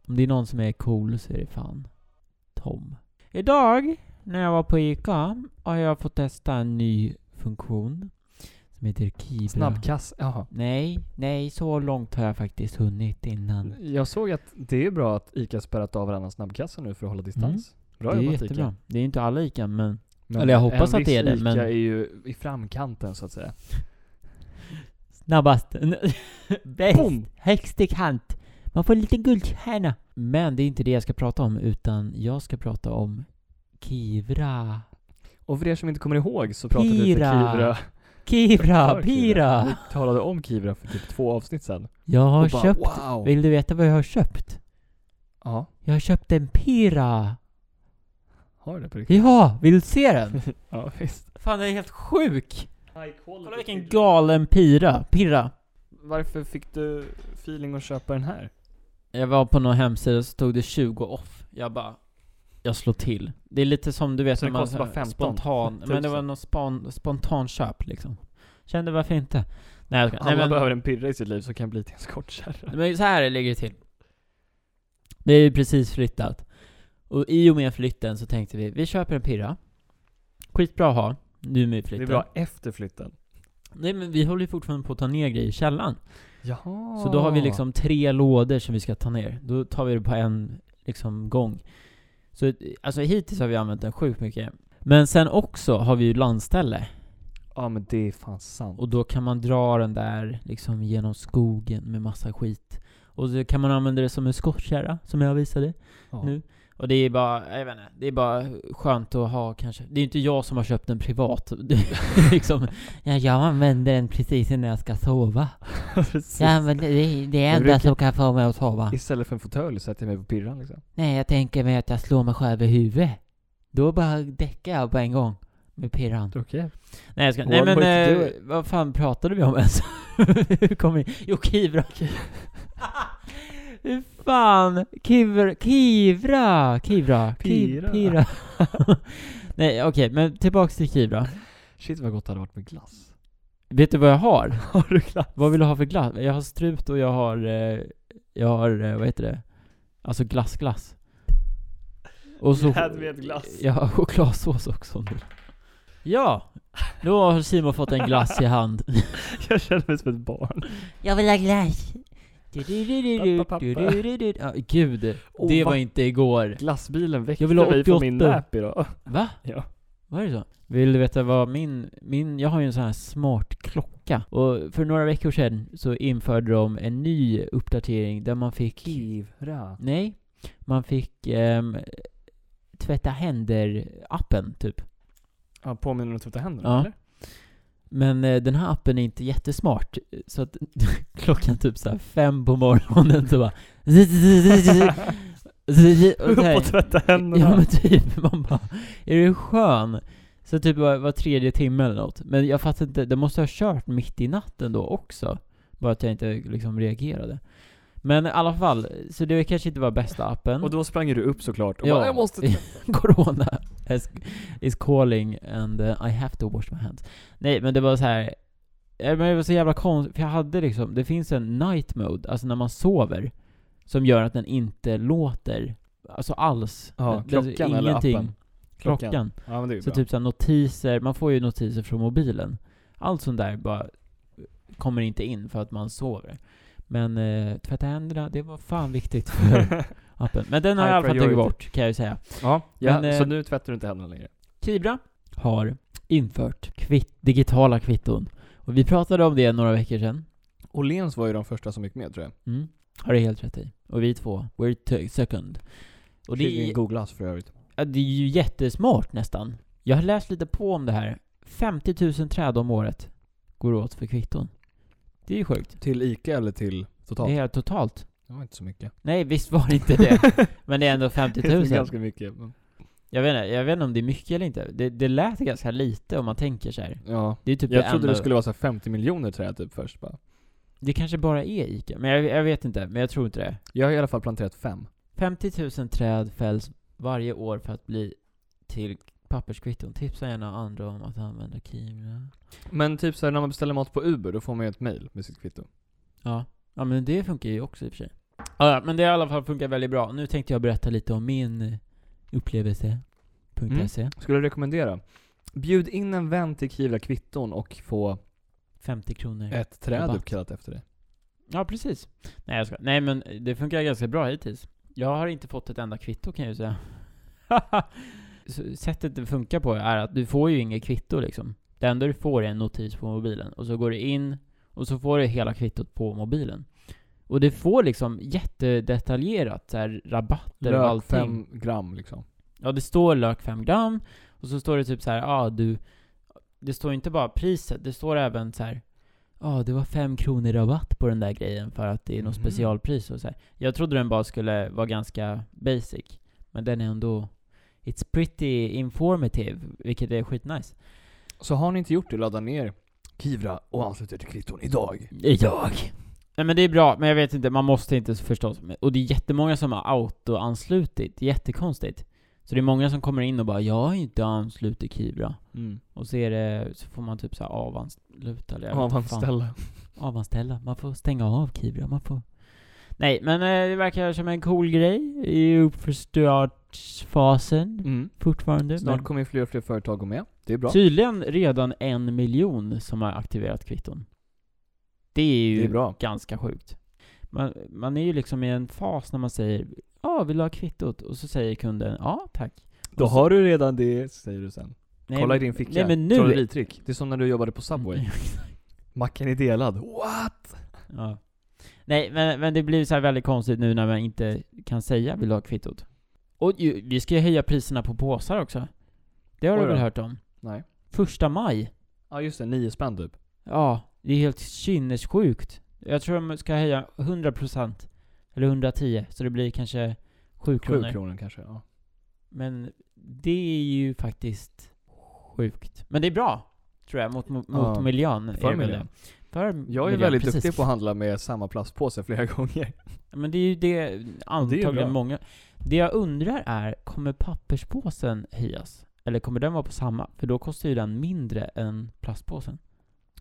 [SPEAKER 1] Om det är någon som är cool så är det fan Tom. Idag när jag var på ICA har jag fått testa en ny funktion som heter Kibra.
[SPEAKER 2] Snabbkass, jaha.
[SPEAKER 1] Nej, nej, så långt har jag faktiskt hunnit innan.
[SPEAKER 2] Jag såg att det är bra att ICA spärrat av varannan snabbkassa nu för att hålla distans. Bra
[SPEAKER 1] Mm. det är
[SPEAKER 2] jobbat
[SPEAKER 1] jättebra.
[SPEAKER 2] ICA.
[SPEAKER 1] Det är inte alla ICA, men
[SPEAKER 2] Men
[SPEAKER 1] Eller jag hoppas
[SPEAKER 2] en
[SPEAKER 1] att det är
[SPEAKER 2] viss
[SPEAKER 1] det, men-
[SPEAKER 2] ICA är ju i framkanten så att säga.
[SPEAKER 1] Snabbast. [laughs] Bäst.
[SPEAKER 2] Boom!
[SPEAKER 1] Högst i kant. Man får en liten guldstjärna. Men det är inte det jag ska prata om, utan jag ska prata om Kivra.
[SPEAKER 2] Och för er som inte kommer ihåg så pratade vi för
[SPEAKER 1] Pira.
[SPEAKER 2] Kivra.
[SPEAKER 1] Kivra,
[SPEAKER 2] för Kivra.
[SPEAKER 1] Pira!
[SPEAKER 2] Vi [laughs] talade om Kivra för typ två avsnitt sedan.
[SPEAKER 1] Jag har
[SPEAKER 2] Och bara,
[SPEAKER 1] köpt...
[SPEAKER 2] Wow!
[SPEAKER 1] Vill du veta vad jag har köpt?
[SPEAKER 2] Ja,
[SPEAKER 1] Jag har köpt en Pira!
[SPEAKER 2] har du det på riktigt?
[SPEAKER 1] Ja, vill du se den?
[SPEAKER 2] Ja, [laughs] visst.
[SPEAKER 1] [laughs] Fan, den är helt sjuk! Kolla vilken galen Pira. Pirra.
[SPEAKER 2] Varför fick du feeling att köpa den här?
[SPEAKER 1] Jag var på någon hemsida och så stod det 20 off. Jag bara... Jag slår till. Det är lite som du vet
[SPEAKER 2] Så
[SPEAKER 1] när
[SPEAKER 2] det
[SPEAKER 1] man
[SPEAKER 2] kostar bara
[SPEAKER 1] så här
[SPEAKER 2] 15
[SPEAKER 1] spontan...
[SPEAKER 2] 000.
[SPEAKER 1] Men det var någon span, spontan köp liksom. Kände varför inte? Nej, jag skojar.
[SPEAKER 2] Alla
[SPEAKER 1] Nej men,
[SPEAKER 2] behöver en pirra i sitt liv som kan bli till en skottkärra.
[SPEAKER 1] men så här ligger det till. Vi har ju precis flyttat. Och i och med flytten så tänkte vi, vi köper en pirra. Skitbra att ha. Nu med
[SPEAKER 2] Det
[SPEAKER 1] flytten.
[SPEAKER 2] är bra efter flytten.
[SPEAKER 1] Nej men vi håller ju fortfarande på att ta ner grejer i källaren.
[SPEAKER 2] Jaha.
[SPEAKER 1] Så då har vi liksom tre lådor som vi ska ta ner. Då tar vi det på en liksom, gång. Så eh, alltså, hittills har vi använt den sjukt mycket. Men sen också har vi ju landställe.
[SPEAKER 2] Ja men det är fan sant.
[SPEAKER 1] Och då kan man dra den där liksom genom skogen med massa skit. Och så kan man använda det som en skottkärra, som jag visade.
[SPEAKER 2] Ja.
[SPEAKER 1] nu. Och det är bara, jag vet inte, det är bara skönt att ha kanske. Det är inte jag som har köpt den privat. [laughs] Det är liksom, [laughs] ja, jag använder den precis innan jag ska sova.
[SPEAKER 2] Precis.
[SPEAKER 1] Jag använder, det, det är
[SPEAKER 2] Jag
[SPEAKER 1] det enda
[SPEAKER 2] brukar-
[SPEAKER 1] som kan få mig att sova.
[SPEAKER 2] Istället för en fåtölj sätter jag mig på pirran liksom.
[SPEAKER 1] Nej, jag tänker mig att jag slår mig själv i huvudet. Då bara däckar jag på en gång. Med pirran.
[SPEAKER 2] Okej.
[SPEAKER 1] Nej, jag ska,
[SPEAKER 2] One
[SPEAKER 1] nej men
[SPEAKER 2] way to do
[SPEAKER 1] eh,
[SPEAKER 2] it.
[SPEAKER 1] vad fan pratade vi om ens? [laughs] Hur kom vi? Jo, Kivra. Hur fan? Kivra, Kivra, Kivra, Kivra.
[SPEAKER 2] Pira.
[SPEAKER 1] Pira. [laughs] nej, okej, men tillbaks till Kivra.
[SPEAKER 2] Shit vad gott det hade varit med glass.
[SPEAKER 1] Vet du vad jag har?
[SPEAKER 2] [laughs] Har du glass?
[SPEAKER 1] Vad vill du ha för glass? Jag har strut och jag har, eh, jag har, eh, vad heter det? Alltså glassglass. Och så...
[SPEAKER 2] Glädvedglass.
[SPEAKER 1] Jag har chokladsås också nu. Ja! Nu har Simon fått en glass i
[SPEAKER 2] [laughs]
[SPEAKER 1] hand.
[SPEAKER 2] [laughs] Jag känner mig som ett barn.
[SPEAKER 1] Jag vill ha glass!
[SPEAKER 2] Pappa, pappa.
[SPEAKER 1] Ja, gud,
[SPEAKER 2] Åh,
[SPEAKER 1] det var
[SPEAKER 2] vad-
[SPEAKER 1] inte igår.
[SPEAKER 2] Glassbilen väckte
[SPEAKER 1] Jag vill ha
[SPEAKER 2] mig från min
[SPEAKER 1] 88.
[SPEAKER 2] nap idag.
[SPEAKER 1] Va?
[SPEAKER 2] Ja.
[SPEAKER 1] Var det så? Vill du veta vad min, min, jag har ju en sån här smart klocka. Och för några veckor sedan så införde de en ny uppdatering där man fick...
[SPEAKER 2] Kivra.
[SPEAKER 1] Nej, man fick ehm, tvätta händer-appen typ.
[SPEAKER 2] Ja, påminner om att tvätta händerna
[SPEAKER 1] Ja.
[SPEAKER 2] eller?
[SPEAKER 1] Men eh, den här appen är inte jättesmart, eh, så att [laughs] klockan typ såhär fem på morgonen så bara... och så här-
[SPEAKER 2] [laughs] Upp och tvätta händerna.
[SPEAKER 1] Ja men typ, man bara, är du skön? Så typ var, var tredje timme eller något. Men jag fattar inte, det måste ha kört mitt i natten då också. Bara att jag inte liksom reagerade. Men i alla fall, så det kanske inte var bästa appen.
[SPEAKER 2] Och då sprang ju du upp såklart och
[SPEAKER 1] Ja.
[SPEAKER 2] bara, jag måste...
[SPEAKER 1] [laughs] Corona is, is calling and uh, I have to wash my hands. Nej, men det var så här. eh, Men det var så jävla konstigt, för jag hade liksom, det finns en night mode, alltså när man sover, som gör att den inte låter, alltså alls.
[SPEAKER 2] Ja,
[SPEAKER 1] Den- den-
[SPEAKER 2] klockan eller appen?
[SPEAKER 1] Klockan.
[SPEAKER 2] Klockan. Ja men det är ju
[SPEAKER 1] Så
[SPEAKER 2] bra.
[SPEAKER 1] typ så här, notiser, man får ju notiser från mobilen. Allt sånt där bara kommer inte in för att man sover. Men eh, tvätta händerna, det var fan viktigt
[SPEAKER 2] [laughs]
[SPEAKER 1] för appen. Men den har jag i alla fall tagit
[SPEAKER 2] Priority.
[SPEAKER 1] bort, kan jag ju säga.
[SPEAKER 2] [laughs] Ja, ja
[SPEAKER 1] Men, eh,
[SPEAKER 2] så nu tvättar du inte händerna längre.
[SPEAKER 1] Kibra har infört kvitt, digitala kvitton. Och vi pratade om det några veckor sedan.
[SPEAKER 2] Åhléns var ju de första som gick med tror jag.
[SPEAKER 1] Mm. Har det helt rätt i. Och vi två, we're t- second. Och det är,
[SPEAKER 2] googlas för övrigt.
[SPEAKER 1] ja, det är ju jättesmart nästan. Jag har läst lite på om det här. 50 000 träd om året går åt för kvitton. Det är ju sjukt.
[SPEAKER 2] Till ICA eller till totalt?
[SPEAKER 1] Det är helt totalt.
[SPEAKER 2] Det var inte så mycket.
[SPEAKER 1] Nej, visst var det inte det.
[SPEAKER 2] [laughs]
[SPEAKER 1] Men det är ändå 50
[SPEAKER 2] Det är
[SPEAKER 1] 000.
[SPEAKER 2] ganska mycket. Men...
[SPEAKER 1] Jag vet inte, jag vet inte om det är mycket eller inte. Det, det lät ganska lite om man tänker så här.
[SPEAKER 2] Ja.
[SPEAKER 1] Det är typ
[SPEAKER 2] Jag
[SPEAKER 1] det
[SPEAKER 2] trodde
[SPEAKER 1] enda-
[SPEAKER 2] det skulle vara så här 50 miljoner träd typ först bara.
[SPEAKER 1] Det kanske bara är ICA, men jag, jag vet inte, men jag tror inte det.
[SPEAKER 2] Jag har i alla fall planterat fem.
[SPEAKER 1] 50 000 träd fälls varje år för att bli till papperskvitton. Tipsa gärna andra om att använda Kimra.
[SPEAKER 2] Men typ såhär när man beställer mat på Uber, då får man ju ett mail med sitt kvitto.
[SPEAKER 1] Ja. ja, men det funkar ju också i och för sig. Ja, ja, men det har i alla fall funkat väldigt bra. Nu tänkte jag berätta lite om min eh, upplevelse.
[SPEAKER 2] Mm.
[SPEAKER 1] .se.
[SPEAKER 2] Skulle jag rekommendera. Bjud in en vän till Kivra kvitton och få
[SPEAKER 1] 50 kronor.
[SPEAKER 2] ett träd
[SPEAKER 1] Rabatt.
[SPEAKER 2] uppkallat efter dig.
[SPEAKER 1] Ja, precis. Nej, jag ska. Nej, men det funkar ganska bra hittills. Jag har inte fått ett enda kvitto kan jag ju säga. [laughs] Så Sättet det funkar på är att du får ju inget kvitto liksom. Det enda du får är en notis på mobilen. Och så går du in och så får du hela kvittot på mobilen. Och du får liksom jättedetaljerat så här, rabatter och
[SPEAKER 2] Lök
[SPEAKER 1] allting.
[SPEAKER 2] fem gram liksom.
[SPEAKER 1] Ja, det står lök 5 gram. Och så står det typ så här, ja ah, du... Det står inte bara priset, det står även så här, ja ah, det var 5 kronor rabatt på den där grejen för att det är något
[SPEAKER 2] Mhm.
[SPEAKER 1] specialpris och så här. Jag trodde den bara skulle vara ganska basic. Men den är ändå... It's pretty informative, vilket är skitnice.
[SPEAKER 2] Så har ni inte gjort det, ladda ner Kivra och anslut er till kvitton idag.
[SPEAKER 1] Jag! Nej men det är bra, men jag vet inte, man måste inte förstås. Och det är jättemånga som har auto-anslutit, jättekonstigt. Så det är många som kommer in och bara 'Jag har ju inte anslutit Kivra'
[SPEAKER 2] Mm.
[SPEAKER 1] Och så, är det, så får man typ så här avansluta eller jag vet inte fan.
[SPEAKER 2] Avanställa.
[SPEAKER 1] Avanställa. Man får stänga av Kibra, man får... Nej, men eh, det verkar som en cool grej i uppförstartsfasen
[SPEAKER 2] Mm.
[SPEAKER 1] fortfarande.
[SPEAKER 2] Snart
[SPEAKER 1] men
[SPEAKER 2] kommer ju fler och fler företag gå med. Det är bra.
[SPEAKER 1] tydligen redan en miljon som har aktiverat kvitton. Det är ju
[SPEAKER 2] Det är bra.
[SPEAKER 1] ganska sjukt. Man, man är ju liksom i en fas när man säger ja, vill du ha kvittot? Och så säger kunden ja, tack.
[SPEAKER 2] Då
[SPEAKER 1] Och så-
[SPEAKER 2] har du redan det, säger du sen.
[SPEAKER 1] Nej,
[SPEAKER 2] Kolla i
[SPEAKER 1] men-
[SPEAKER 2] din ficka.
[SPEAKER 1] Nej men nu...
[SPEAKER 2] Trolleritrick. Det är som när du jobbade på Subway. [laughs] Macken är delad. What?
[SPEAKER 1] Ja. Nej, men, men det blir så här väldigt konstigt nu när man inte kan säga vill du ha kvittot. Och ju, vi ska ju höja priserna på påsar också. Det har
[SPEAKER 2] Oj
[SPEAKER 1] du väl
[SPEAKER 2] då.
[SPEAKER 1] hört om?
[SPEAKER 2] Nej.
[SPEAKER 1] Första maj.
[SPEAKER 2] Ja just det, nio spänn typ.
[SPEAKER 1] Ja, det är helt sinnessjukt. Jag tror de ska höja 100% eller 110 så det blir kanske 7
[SPEAKER 2] Sju
[SPEAKER 1] kronor.
[SPEAKER 2] kronor kanske. Ja.
[SPEAKER 1] Men det är ju faktiskt sjukt. Men det är bra, tror jag, mot, mot
[SPEAKER 2] Ja,
[SPEAKER 1] miljön. är det
[SPEAKER 2] för
[SPEAKER 1] väl
[SPEAKER 2] miljön.
[SPEAKER 1] det. För
[SPEAKER 2] Jag är
[SPEAKER 1] miljön,
[SPEAKER 2] väldigt
[SPEAKER 1] precis.
[SPEAKER 2] duktig på att handla med samma plastpåse flera [laughs] gånger.
[SPEAKER 1] Ja, Men det är ju det antagligen
[SPEAKER 2] bra.
[SPEAKER 1] många... Det jag undrar är, kommer papperspåsen höjas? Eller kommer den vara på samma? För då kostar ju den mindre än plastpåsen.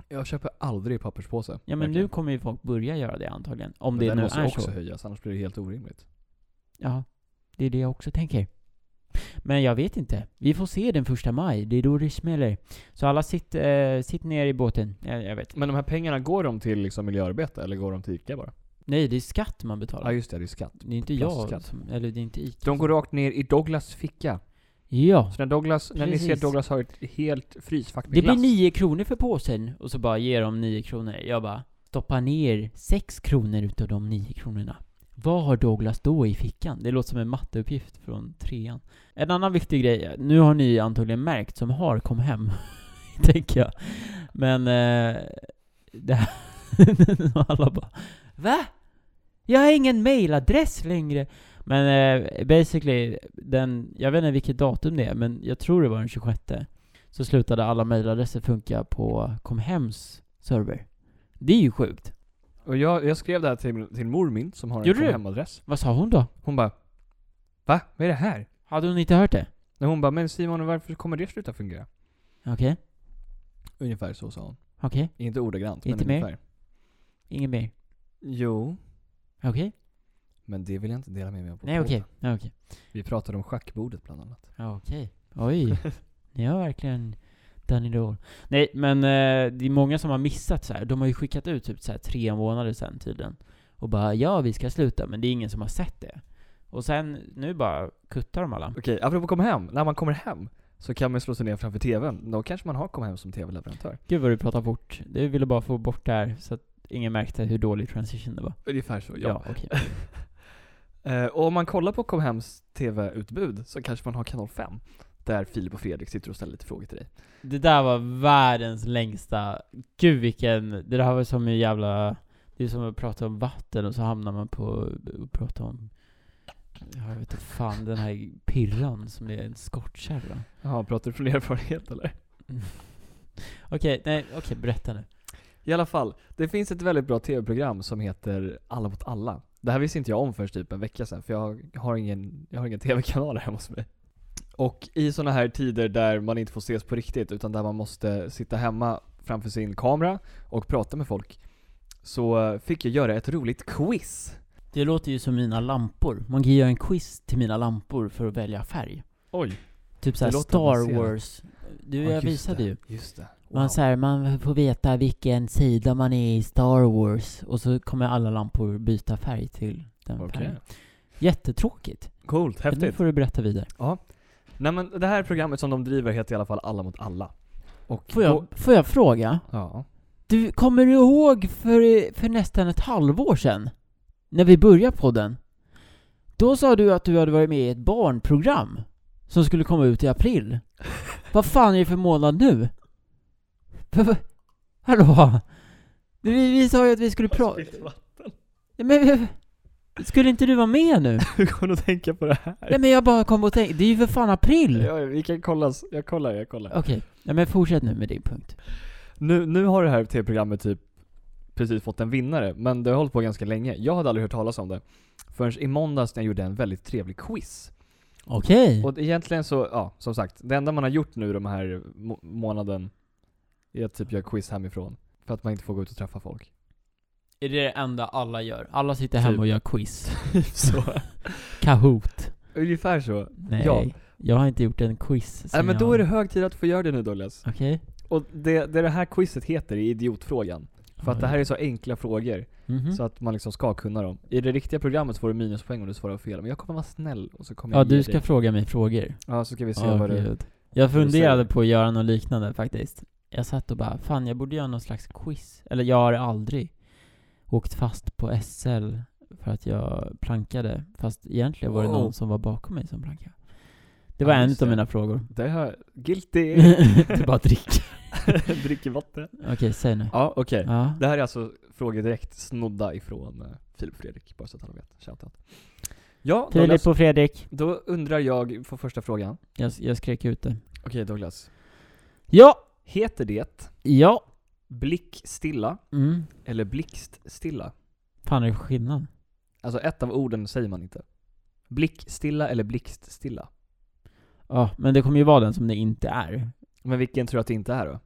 [SPEAKER 2] Jag köper aldrig papperspåse.
[SPEAKER 1] Ja men nu kommer ju folk börja göra det antagligen. Om det
[SPEAKER 2] den
[SPEAKER 1] nu
[SPEAKER 2] måste
[SPEAKER 1] är
[SPEAKER 2] också
[SPEAKER 1] så.
[SPEAKER 2] höjas, annars blir det helt orimligt.
[SPEAKER 1] Ja, det är det jag också tänker. Men jag vet inte. Vi får se den första maj. Det är då det smäller. Så alla sitt, eh, sitt ner i båten. Jag, jag vet.
[SPEAKER 2] Men de här pengarna, går de till liksom miljöarbete eller går de till ICA bara?
[SPEAKER 1] Nej, det är skatt man
[SPEAKER 2] Ja
[SPEAKER 1] betalar.
[SPEAKER 2] just det, det är skatt.
[SPEAKER 1] det är inte jag
[SPEAKER 2] plastskatt.
[SPEAKER 1] som, Eller det är inte ICA.
[SPEAKER 2] De går rakt ner i Douglas ficka.
[SPEAKER 1] Ja.
[SPEAKER 2] Så när Douglas, när ni ser
[SPEAKER 1] Precis.
[SPEAKER 2] Douglas har ett helt frysfack med
[SPEAKER 1] Det blir
[SPEAKER 2] glass.
[SPEAKER 1] nio kronor för påsen och så bara ger de nio kronor. Jag bara stoppar ner sex kronor utav de nio kronorna. Vad har Douglas då i fickan? Det låter som en matteuppgift från trean. En annan viktig grej, nu har ni antagligen märkt som har kom hem, [laughs] tänker jag. Men eh, det här, [laughs] och alla bara Va? Jag har ingen mailadress längre. Men eh, basically, den, jag vet inte vilket datum det är, men jag tror det var den 26. så slutade alla mejladresser funka på Comhems server. Det är ju sjukt.
[SPEAKER 2] Och jag, jag skrev det här till, till mormin som har
[SPEAKER 1] Gjorde
[SPEAKER 2] en
[SPEAKER 1] du?
[SPEAKER 2] hemadress.
[SPEAKER 1] Vad sa hon då?
[SPEAKER 2] Hon bara Va? Vad är det här?
[SPEAKER 1] Hade hon inte hört det?
[SPEAKER 2] Och hon bara Men Simon varför kommer det sluta fungera?
[SPEAKER 1] Okej,
[SPEAKER 2] Ungefär så sa hon.
[SPEAKER 1] okej.
[SPEAKER 2] Inte ordagrant
[SPEAKER 1] Inte
[SPEAKER 2] men
[SPEAKER 1] mer?
[SPEAKER 2] ungefär.
[SPEAKER 1] Inget mer.
[SPEAKER 2] Jo.
[SPEAKER 1] Okej?
[SPEAKER 2] Men det vill jag inte dela med mig av på
[SPEAKER 1] Nej okej.
[SPEAKER 2] podden.
[SPEAKER 1] Nej okej.
[SPEAKER 2] Vi pratade om schackbordet bland annat.
[SPEAKER 1] Ja, Okej. [laughs] Oj. Ni har verkligen done it all. Nej men eh, det är många som har missat så här. De har ju skickat ut typ så här tre månader sedan tydligen. Och bara ja vi ska sluta men det är ingen som har sett det. Och sen nu bara kuttar de alla.
[SPEAKER 2] Okej, apropå kom hem. När man kommer hem så kan man slå sig ner framför TVn. Då kanske man har kom hem som TV-leverantör.
[SPEAKER 1] Gud vad du pratar fort. Du ville bara få bort det här så att ingen märkte hur dålig transition det var.
[SPEAKER 2] Ungefär så,
[SPEAKER 1] Ja, okej.
[SPEAKER 2] [laughs] Eh, och om man kollar på Comhems TV-utbud så kanske man har kanal 5. Där Filip och Fredrik sitter och ställer lite frågor till dig.
[SPEAKER 1] Det där var världens längsta, gud vilken, det där var som en jävla, det är som att prata om vatten och så hamnar man på och prata om, jag vet inte fan, den här pirran som är en skottkärra.
[SPEAKER 2] Jaha, pratar du från erfarenhet eller?
[SPEAKER 1] Okej, nej, okej berätta nu.
[SPEAKER 2] I alla fall, det finns ett väldigt bra TV-program som heter Alla mot alla. Det här visste inte jag om först typ en vecka sedan för jag har ingen, jag har ingen TV-kanal här hemma hos mig. Och i sådana här tider där man inte får ses på riktigt utan där man måste sitta hemma framför sin kamera och prata med folk så fick jag göra ett roligt quiz.
[SPEAKER 1] Det låter ju som mina lampor, man kan ju göra en quiz till mina lampor för att välja färg.
[SPEAKER 2] Oj,
[SPEAKER 1] Typ såhär
[SPEAKER 2] låter
[SPEAKER 1] Star
[SPEAKER 2] avancerat.
[SPEAKER 1] Wars, du jag visade
[SPEAKER 2] det.
[SPEAKER 1] ju.
[SPEAKER 2] Just det.
[SPEAKER 1] Man, så här, man får veta vilken sida man är i Star Wars, och så kommer alla lampor byta färg till den
[SPEAKER 2] Okej.
[SPEAKER 1] färgen. Jättetråkigt.
[SPEAKER 2] Coolt,
[SPEAKER 1] Men Nu
[SPEAKER 2] häftigt.
[SPEAKER 1] får du berätta vidare.
[SPEAKER 2] Nej men det här programmet som de driver heter i alla fall Alla mot alla. Och
[SPEAKER 1] Får jag,
[SPEAKER 2] då-
[SPEAKER 1] får jag fråga?
[SPEAKER 2] Ja.
[SPEAKER 1] Du, kommer du ihåg för, för nästan ett halvår sedan? När vi började podden? Då sa du att du hade varit med i ett barnprogram som skulle komma ut i
[SPEAKER 2] [laughs]
[SPEAKER 1] april. Vad fan är det för månad nu? Va- va- Hallå? Vi, vi sa ju att vi skulle prata... Men vi- Skulle inte du vara med
[SPEAKER 2] [laughs]
[SPEAKER 1] nu?
[SPEAKER 2] [laughs] Hur kommer du att tänka på det här?
[SPEAKER 1] Nej men jag bara kom och tänkte, det är ju för fan april!
[SPEAKER 2] Ja, vi kan kolla, jag kollar, jag kollar.
[SPEAKER 1] Mm. Okej, nej men fortsätt nu med din punkt.
[SPEAKER 2] Nu, nu har det här tv-programmet typ precis fått en vinnare, men det har hållit på ganska länge. Jag hade aldrig hört talas om det förrän i måndags när jag gjorde en väldigt trevlig quiz.
[SPEAKER 1] Okej.
[SPEAKER 2] Och egentligen så, ja, som sagt, det enda man har gjort nu de här må- månaden är att typ göra quiz hemifrån. För att man inte får gå ut och träffa folk.
[SPEAKER 1] Är det det enda alla gör? Alla sitter
[SPEAKER 2] Typ.
[SPEAKER 1] hemma och gör quiz. [laughs]
[SPEAKER 2] så.
[SPEAKER 1] Kahoot.
[SPEAKER 2] [laughs] Ungefär så.
[SPEAKER 1] Nej.
[SPEAKER 2] Ja.
[SPEAKER 1] Jag har inte gjort en quiz
[SPEAKER 2] Nej
[SPEAKER 1] sen
[SPEAKER 2] men
[SPEAKER 1] jag-
[SPEAKER 2] då är det hög tid att få göra det nu Douglas.
[SPEAKER 1] Okej.
[SPEAKER 2] Och det, det det här quizet heter är idiotfrågan. För att det här är så enkla frågor.
[SPEAKER 1] Mhm.
[SPEAKER 2] Så att man liksom ska kunna dem. I det riktiga programmet får du minuspoäng om du svarar fel. Men jag kommer vara snäll och så kommer
[SPEAKER 1] Ja,
[SPEAKER 2] jag ge
[SPEAKER 1] du ska
[SPEAKER 2] dig.
[SPEAKER 1] fråga mig frågor.
[SPEAKER 2] Ja, så ska vi se
[SPEAKER 1] Ja,
[SPEAKER 2] vad du...
[SPEAKER 1] gud. Jag funderade
[SPEAKER 2] säger.
[SPEAKER 1] på att göra något liknande faktiskt. Jag satt och bara, fan jag borde göra någon slags quiz. Eller jag har aldrig åkt fast på SL för att jag plankade. Fast egentligen var det
[SPEAKER 2] Wow.
[SPEAKER 1] någon som var bakom mig som plankade. Det var
[SPEAKER 2] Ja,
[SPEAKER 1] en
[SPEAKER 2] just
[SPEAKER 1] av
[SPEAKER 2] det.
[SPEAKER 1] mina frågor.
[SPEAKER 2] Det här...
[SPEAKER 1] [laughs]
[SPEAKER 2] Guilty!
[SPEAKER 1] det är bara att dricka.
[SPEAKER 2] [laughs] Dricker vatten.
[SPEAKER 1] Okej, säg nu.
[SPEAKER 2] Ja, okej.
[SPEAKER 1] Ja.
[SPEAKER 2] Det här är alltså frågor direkt snodda ifrån eh, Filip och Fredrik, bara så att alla vet. Shoutout. Ja, Douglas,
[SPEAKER 1] Filip och Fredrik.
[SPEAKER 2] då undrar jag för första frågan.
[SPEAKER 1] Jag, jag skrek ut det.
[SPEAKER 2] Okej Douglas.
[SPEAKER 1] Ja!
[SPEAKER 2] Heter det
[SPEAKER 1] Ja!
[SPEAKER 2] blickstilla
[SPEAKER 1] Mm.
[SPEAKER 2] eller blixtstilla?
[SPEAKER 1] Fan är det för skillnad?
[SPEAKER 2] Alltså ett av orden säger man inte. Blickstilla eller blixtstilla?
[SPEAKER 1] Ja, men det kommer ju vara den som det inte är.
[SPEAKER 2] Men vilken tror du att det inte är då?
[SPEAKER 1] Typ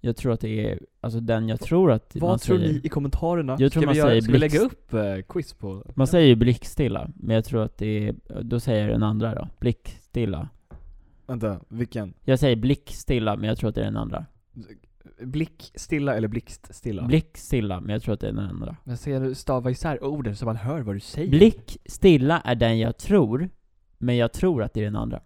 [SPEAKER 1] Jag tror att det är, alltså den jag tror att man
[SPEAKER 2] Vad tror
[SPEAKER 1] säger.
[SPEAKER 2] ni i kommentarerna?
[SPEAKER 1] Jag tror
[SPEAKER 2] ska
[SPEAKER 1] man
[SPEAKER 2] vi, göra,
[SPEAKER 1] säger
[SPEAKER 2] ska vi
[SPEAKER 1] blixt-
[SPEAKER 2] lägga upp eh, quiz på...
[SPEAKER 1] Man säger ju blickstilla, men jag tror att det är, då säger jag den andra då. Blickstilla.
[SPEAKER 2] Vänta, vilken?
[SPEAKER 1] Jag säger blickstilla, men jag tror att det är den andra.
[SPEAKER 2] Blickstilla eller blixtstilla?
[SPEAKER 1] Blickstilla, men jag tror att det är den andra.
[SPEAKER 2] Men säger du stava isär orden så man hör vad du säger?
[SPEAKER 1] Blickstilla är den jag tror, men jag tror att det är den andra.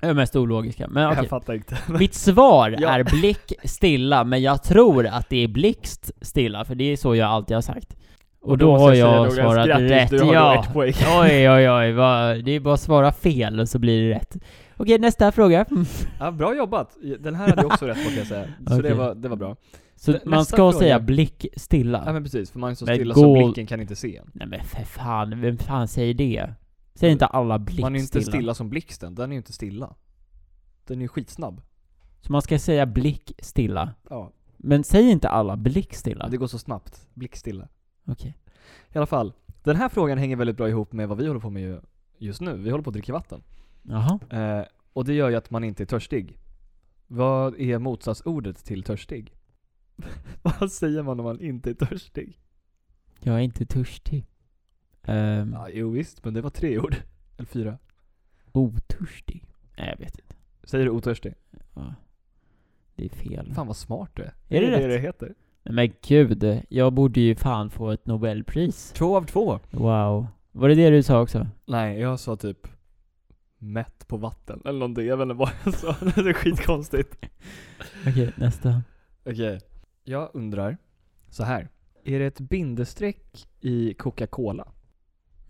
[SPEAKER 1] Det är det mest ologiska, men okej.
[SPEAKER 2] [laughs] Jag
[SPEAKER 1] [laughs]
[SPEAKER 2] fattar inte. [laughs]
[SPEAKER 1] Mitt svar
[SPEAKER 2] Ja.
[SPEAKER 1] är blick stilla, men jag tror att det är blixt stilla, för det är så jag alltid har sagt. Och, då, har jag
[SPEAKER 2] måste säga Douglas,
[SPEAKER 1] svarat
[SPEAKER 2] grattis,
[SPEAKER 1] rätt,
[SPEAKER 2] du har då
[SPEAKER 1] ja. [laughs]
[SPEAKER 2] ett poäng.
[SPEAKER 1] Oj, oj, oj, vad, det är bara att svara fel och så blir det rätt. Okej, nästa
[SPEAKER 2] [laughs]
[SPEAKER 1] fråga. Mm.
[SPEAKER 2] Ja, bra jobbat. Den här hade jag också rätt på kan jag säga. Så det,
[SPEAKER 1] Okej.
[SPEAKER 2] var, det var bra.
[SPEAKER 1] Så
[SPEAKER 2] Nä-
[SPEAKER 1] man
[SPEAKER 2] nästa
[SPEAKER 1] ska
[SPEAKER 2] fråga.
[SPEAKER 1] säga blick stilla.
[SPEAKER 2] Ja men precis, för man är så
[SPEAKER 1] Men
[SPEAKER 2] stilla
[SPEAKER 1] gå-
[SPEAKER 2] så blicken kan inte se en.
[SPEAKER 1] Nej men för fan, vem fan säger det? Säger inte alla blick
[SPEAKER 2] Man är ju inte
[SPEAKER 1] stilla?
[SPEAKER 2] stilla som blixten, den är ju inte stilla. Den är ju skitsnabb.
[SPEAKER 1] Så man ska säga blick stilla.
[SPEAKER 2] Ja.
[SPEAKER 1] Men säg inte alla blick stilla.
[SPEAKER 2] Det går så snabbt. Blickstilla.
[SPEAKER 1] Okej.
[SPEAKER 2] I alla fall. Den här frågan hänger väldigt bra ihop med vad vi håller på med ju- just nu. Vi håller på att dricka vatten.
[SPEAKER 1] Jaha.
[SPEAKER 2] Eh, och det gör ju att man inte är törstig. Vad är motsatsordet till törstig? [laughs] vad säger man om man inte är törstig?
[SPEAKER 1] Jag är inte törstig. Um,
[SPEAKER 2] Ja, jo visst, men det var tre ord. Eller fyra.
[SPEAKER 1] Otörstig? Nej, jag vet inte.
[SPEAKER 2] Säger du otörstig?
[SPEAKER 1] Ja. Det är fel.
[SPEAKER 2] Fan vad smart du är.
[SPEAKER 1] Mm. Är det
[SPEAKER 2] det
[SPEAKER 1] rätt?
[SPEAKER 2] det heter?
[SPEAKER 1] Nej, men gud, jag borde ju fan få ett nobelpris.
[SPEAKER 2] Två av två.
[SPEAKER 1] Wow. Var det det du sa också?
[SPEAKER 2] Nej, jag sa typ mätt på vatten eller någonting. Jag vet inte vad jag sa. [laughs] Det är skitkonstigt.
[SPEAKER 1] Okej, nästa.
[SPEAKER 2] Okej. Jag undrar så här. Är det ett bindestreck i Coca-Cola?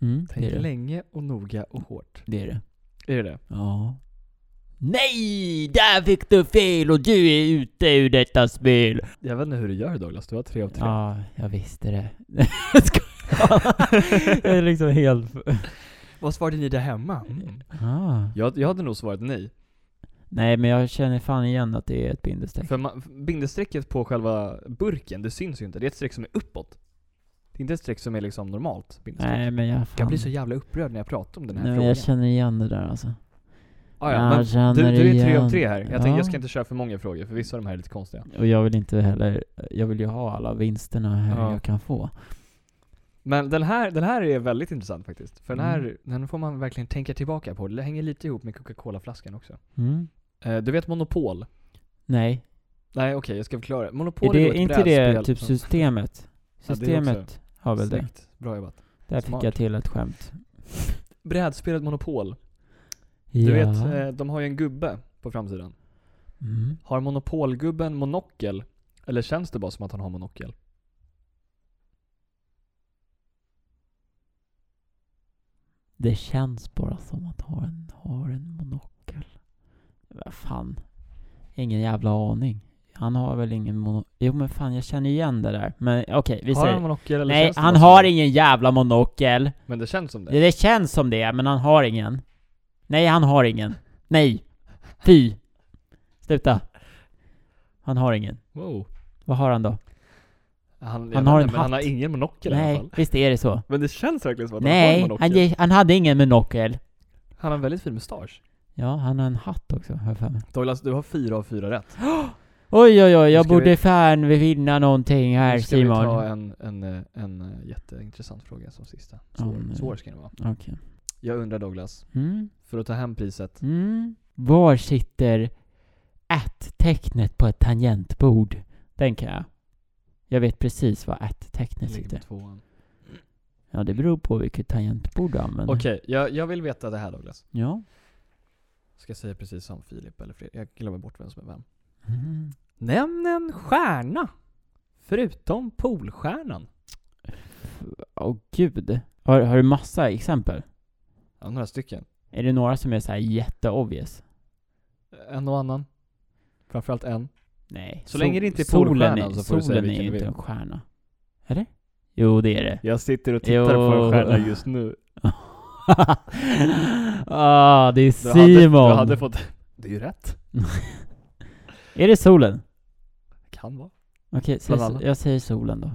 [SPEAKER 1] Mm, det
[SPEAKER 2] Tänk
[SPEAKER 1] är det.
[SPEAKER 2] länge och noga och hårt.
[SPEAKER 1] Det är det.
[SPEAKER 2] Är det det?
[SPEAKER 1] Ja. Nej! Där fick du fel och du är ute ur detta spel!
[SPEAKER 2] Jag vet inte hur du gör Douglas. Du har tre av tre.
[SPEAKER 1] Ja, jag visste det. [laughs] Jag skojar. Jag är liksom helt...
[SPEAKER 2] Vad svarade ni där hemma?
[SPEAKER 1] Ah.
[SPEAKER 2] Mm. Jag, jag hade nog svarat nej.
[SPEAKER 1] Nej, men jag känner fan igen att det är ett bindestreck.
[SPEAKER 2] För ma- bindestrecket på själva burken, det syns ju inte. Det är ett streck som är uppåt. Det är inte ett streck som är liksom normalt bindestreck.
[SPEAKER 1] Nej, men jag fan...
[SPEAKER 2] Jag blir så jävla upprörd när jag pratar om den här
[SPEAKER 1] Nej, men
[SPEAKER 2] frågan.
[SPEAKER 1] jag känner igen det där alltså.
[SPEAKER 2] Ah,
[SPEAKER 1] Jag
[SPEAKER 2] ja, men
[SPEAKER 1] känner
[SPEAKER 2] du, du är tre
[SPEAKER 1] igen.
[SPEAKER 2] av tre här. Jag tänkte jag ska
[SPEAKER 1] Ja.
[SPEAKER 2] inte köra för många frågor, för vissa av de här är lite konstiga.
[SPEAKER 1] Och jag vill inte heller, jag vill ju ha alla vinsterna här
[SPEAKER 2] Ja.
[SPEAKER 1] jag kan få.
[SPEAKER 2] Men den här, den här är väldigt intressant faktiskt. För den här,
[SPEAKER 1] Mm.
[SPEAKER 2] den får man verkligen tänka tillbaka på. Det hänger lite ihop med Coca-Cola-flaskan också.
[SPEAKER 1] Mm.
[SPEAKER 2] Eh, du vet Monopol?
[SPEAKER 1] Nej.
[SPEAKER 2] Nej okej, jag ska förklara.
[SPEAKER 1] Är
[SPEAKER 2] Monopol
[SPEAKER 1] det,
[SPEAKER 2] är, då
[SPEAKER 1] är
[SPEAKER 2] ett
[SPEAKER 1] inte det
[SPEAKER 2] brädspel
[SPEAKER 1] typ
[SPEAKER 2] som-
[SPEAKER 1] systemet?
[SPEAKER 2] Ja, det är också-
[SPEAKER 1] Systemet har väl det?
[SPEAKER 2] Snyggt. Bra jobbat.
[SPEAKER 1] Där fick
[SPEAKER 2] Smart.
[SPEAKER 1] jag till ett skämt.
[SPEAKER 2] Brädspelet Monopol.
[SPEAKER 1] Ja.
[SPEAKER 2] Du vet, eh, de har ju en gubbe på framsidan.
[SPEAKER 1] Mm.
[SPEAKER 2] Har Monopolgubben monokel? Eller känns det bara som att han har monokel?
[SPEAKER 1] Det känns bara som att ha en, har en monokel. Vad fan. Ingen jävla aning. Han har väl ingen monokel? Jo men fan jag känner igen det där. Men okej, vi
[SPEAKER 2] har han
[SPEAKER 1] säger...
[SPEAKER 2] monokel eller
[SPEAKER 1] Nej,
[SPEAKER 2] känns det
[SPEAKER 1] han
[SPEAKER 2] bara som
[SPEAKER 1] har
[SPEAKER 2] det?
[SPEAKER 1] ingen jävla monokel.
[SPEAKER 2] Men det känns som det.
[SPEAKER 1] Det, det känns som det, men han har ingen. Nej, han har ingen. Nej. Fy. Sluta. Han har ingen.
[SPEAKER 2] Wow.
[SPEAKER 1] Vad har han då?
[SPEAKER 2] Han,
[SPEAKER 1] Han
[SPEAKER 2] jag
[SPEAKER 1] har
[SPEAKER 2] vet inte,
[SPEAKER 1] en
[SPEAKER 2] men Han har
[SPEAKER 1] hatt.
[SPEAKER 2] ingen monokel i alla
[SPEAKER 1] Nej,
[SPEAKER 2] fall.
[SPEAKER 1] visst är det så?
[SPEAKER 2] Men det känns verkligen som att han har
[SPEAKER 1] Nej,
[SPEAKER 2] en
[SPEAKER 1] han,
[SPEAKER 2] monokel.
[SPEAKER 1] ge- han hade ingen monokel.
[SPEAKER 2] Han har en väldigt fin mustasch.
[SPEAKER 1] Ja, han har en hatt också, har jag för mig.
[SPEAKER 2] Douglas, du har fyra av fyra rätt.
[SPEAKER 1] Oj, oj, oj, jag
[SPEAKER 2] ska
[SPEAKER 1] borde
[SPEAKER 2] vi-
[SPEAKER 1] fan vinna någonting här
[SPEAKER 2] nu ska
[SPEAKER 1] Simon.
[SPEAKER 2] vi ta en, en, eh, en eh, jätteintressant fråga som sista. Svår,
[SPEAKER 1] Ja, nej.
[SPEAKER 2] svår ska den vara.
[SPEAKER 1] Okej.
[SPEAKER 2] Jag undrar Douglas,
[SPEAKER 1] Mm,
[SPEAKER 2] för att ta hem priset.
[SPEAKER 1] mm. Var sitter at-tecknet på ett tangentbord? Den kan jag. Jag vet precis var at-tecknet
[SPEAKER 2] ligger på
[SPEAKER 1] sitter.
[SPEAKER 2] tvåan.
[SPEAKER 1] Ja, det beror på vilket tangentbord du använder.
[SPEAKER 2] Okej, jag, jag vill veta det här Douglas.
[SPEAKER 1] Ja.
[SPEAKER 2] Ska säga precis som Filip eller Fredrik. Jag glömmer bort vem som är vem.
[SPEAKER 1] Mm.
[SPEAKER 2] Nämn en stjärna! Förutom Polstjärnan.
[SPEAKER 1] Åh gud. Har, har du massa exempel?
[SPEAKER 2] Ja, några stycken.
[SPEAKER 1] Är det några som är så här jätteobvious?
[SPEAKER 2] En och annan. Framförallt en.
[SPEAKER 1] Nej.
[SPEAKER 2] Så länge det inte är
[SPEAKER 1] solen
[SPEAKER 2] polstjärnan
[SPEAKER 1] är,
[SPEAKER 2] så får du säga
[SPEAKER 1] Solen är
[SPEAKER 2] vilken
[SPEAKER 1] ju
[SPEAKER 2] du
[SPEAKER 1] inte
[SPEAKER 2] vill.
[SPEAKER 1] en stjärna. Eller? Jo, det är det. [laughs]
[SPEAKER 2] Jag sitter och
[SPEAKER 1] tittar på en stjärna
[SPEAKER 2] just nu.
[SPEAKER 1] ah, det är
[SPEAKER 2] Du hade, du
[SPEAKER 1] Simon!
[SPEAKER 2] hade fått... Det är ju rätt.
[SPEAKER 1] Är det solen?
[SPEAKER 2] Kan vara.
[SPEAKER 1] Okej, säg
[SPEAKER 2] Bland
[SPEAKER 1] so-
[SPEAKER 2] annat.
[SPEAKER 1] jag säger solen då.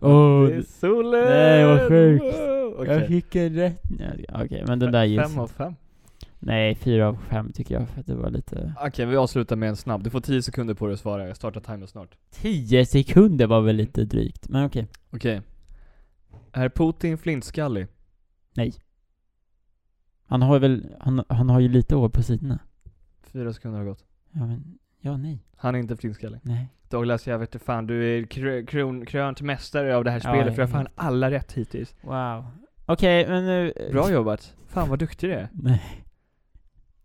[SPEAKER 1] Åh,
[SPEAKER 2] det är solen!
[SPEAKER 1] nej, vad sjukt.
[SPEAKER 2] Wow!
[SPEAKER 1] jag
[SPEAKER 2] Okej.
[SPEAKER 1] fick en rätt. Nej, Okej, men den där gills
[SPEAKER 2] Fem av fem.
[SPEAKER 1] Nej, fyra av fem tycker jag för att det var lite...
[SPEAKER 2] Okej, vi avslutar med en snabb. Du får 10 sekunder på dig att svara. Jag startar timern snart.
[SPEAKER 1] Tio sekunder var väl lite drygt, men okej.
[SPEAKER 2] Okej. Är Putin flintskallig?
[SPEAKER 1] Han har väl, han, han har ju lite år på sidorna.
[SPEAKER 2] Fyra sekunder har gått.
[SPEAKER 1] Ja men, ja nej,
[SPEAKER 2] Han är inte flintskallig.
[SPEAKER 1] nej.
[SPEAKER 2] Douglas, jag vet inte fan. Du är kr- kron- krönt mästare av det här
[SPEAKER 1] Ja,
[SPEAKER 2] spelet för jag
[SPEAKER 1] jag
[SPEAKER 2] har fan alla rätt hittills.
[SPEAKER 1] Wow. Okej, men nu... eh,
[SPEAKER 2] Bra jobbat. Fan vad duktig
[SPEAKER 1] [laughs]
[SPEAKER 2] du är.
[SPEAKER 1] Nej.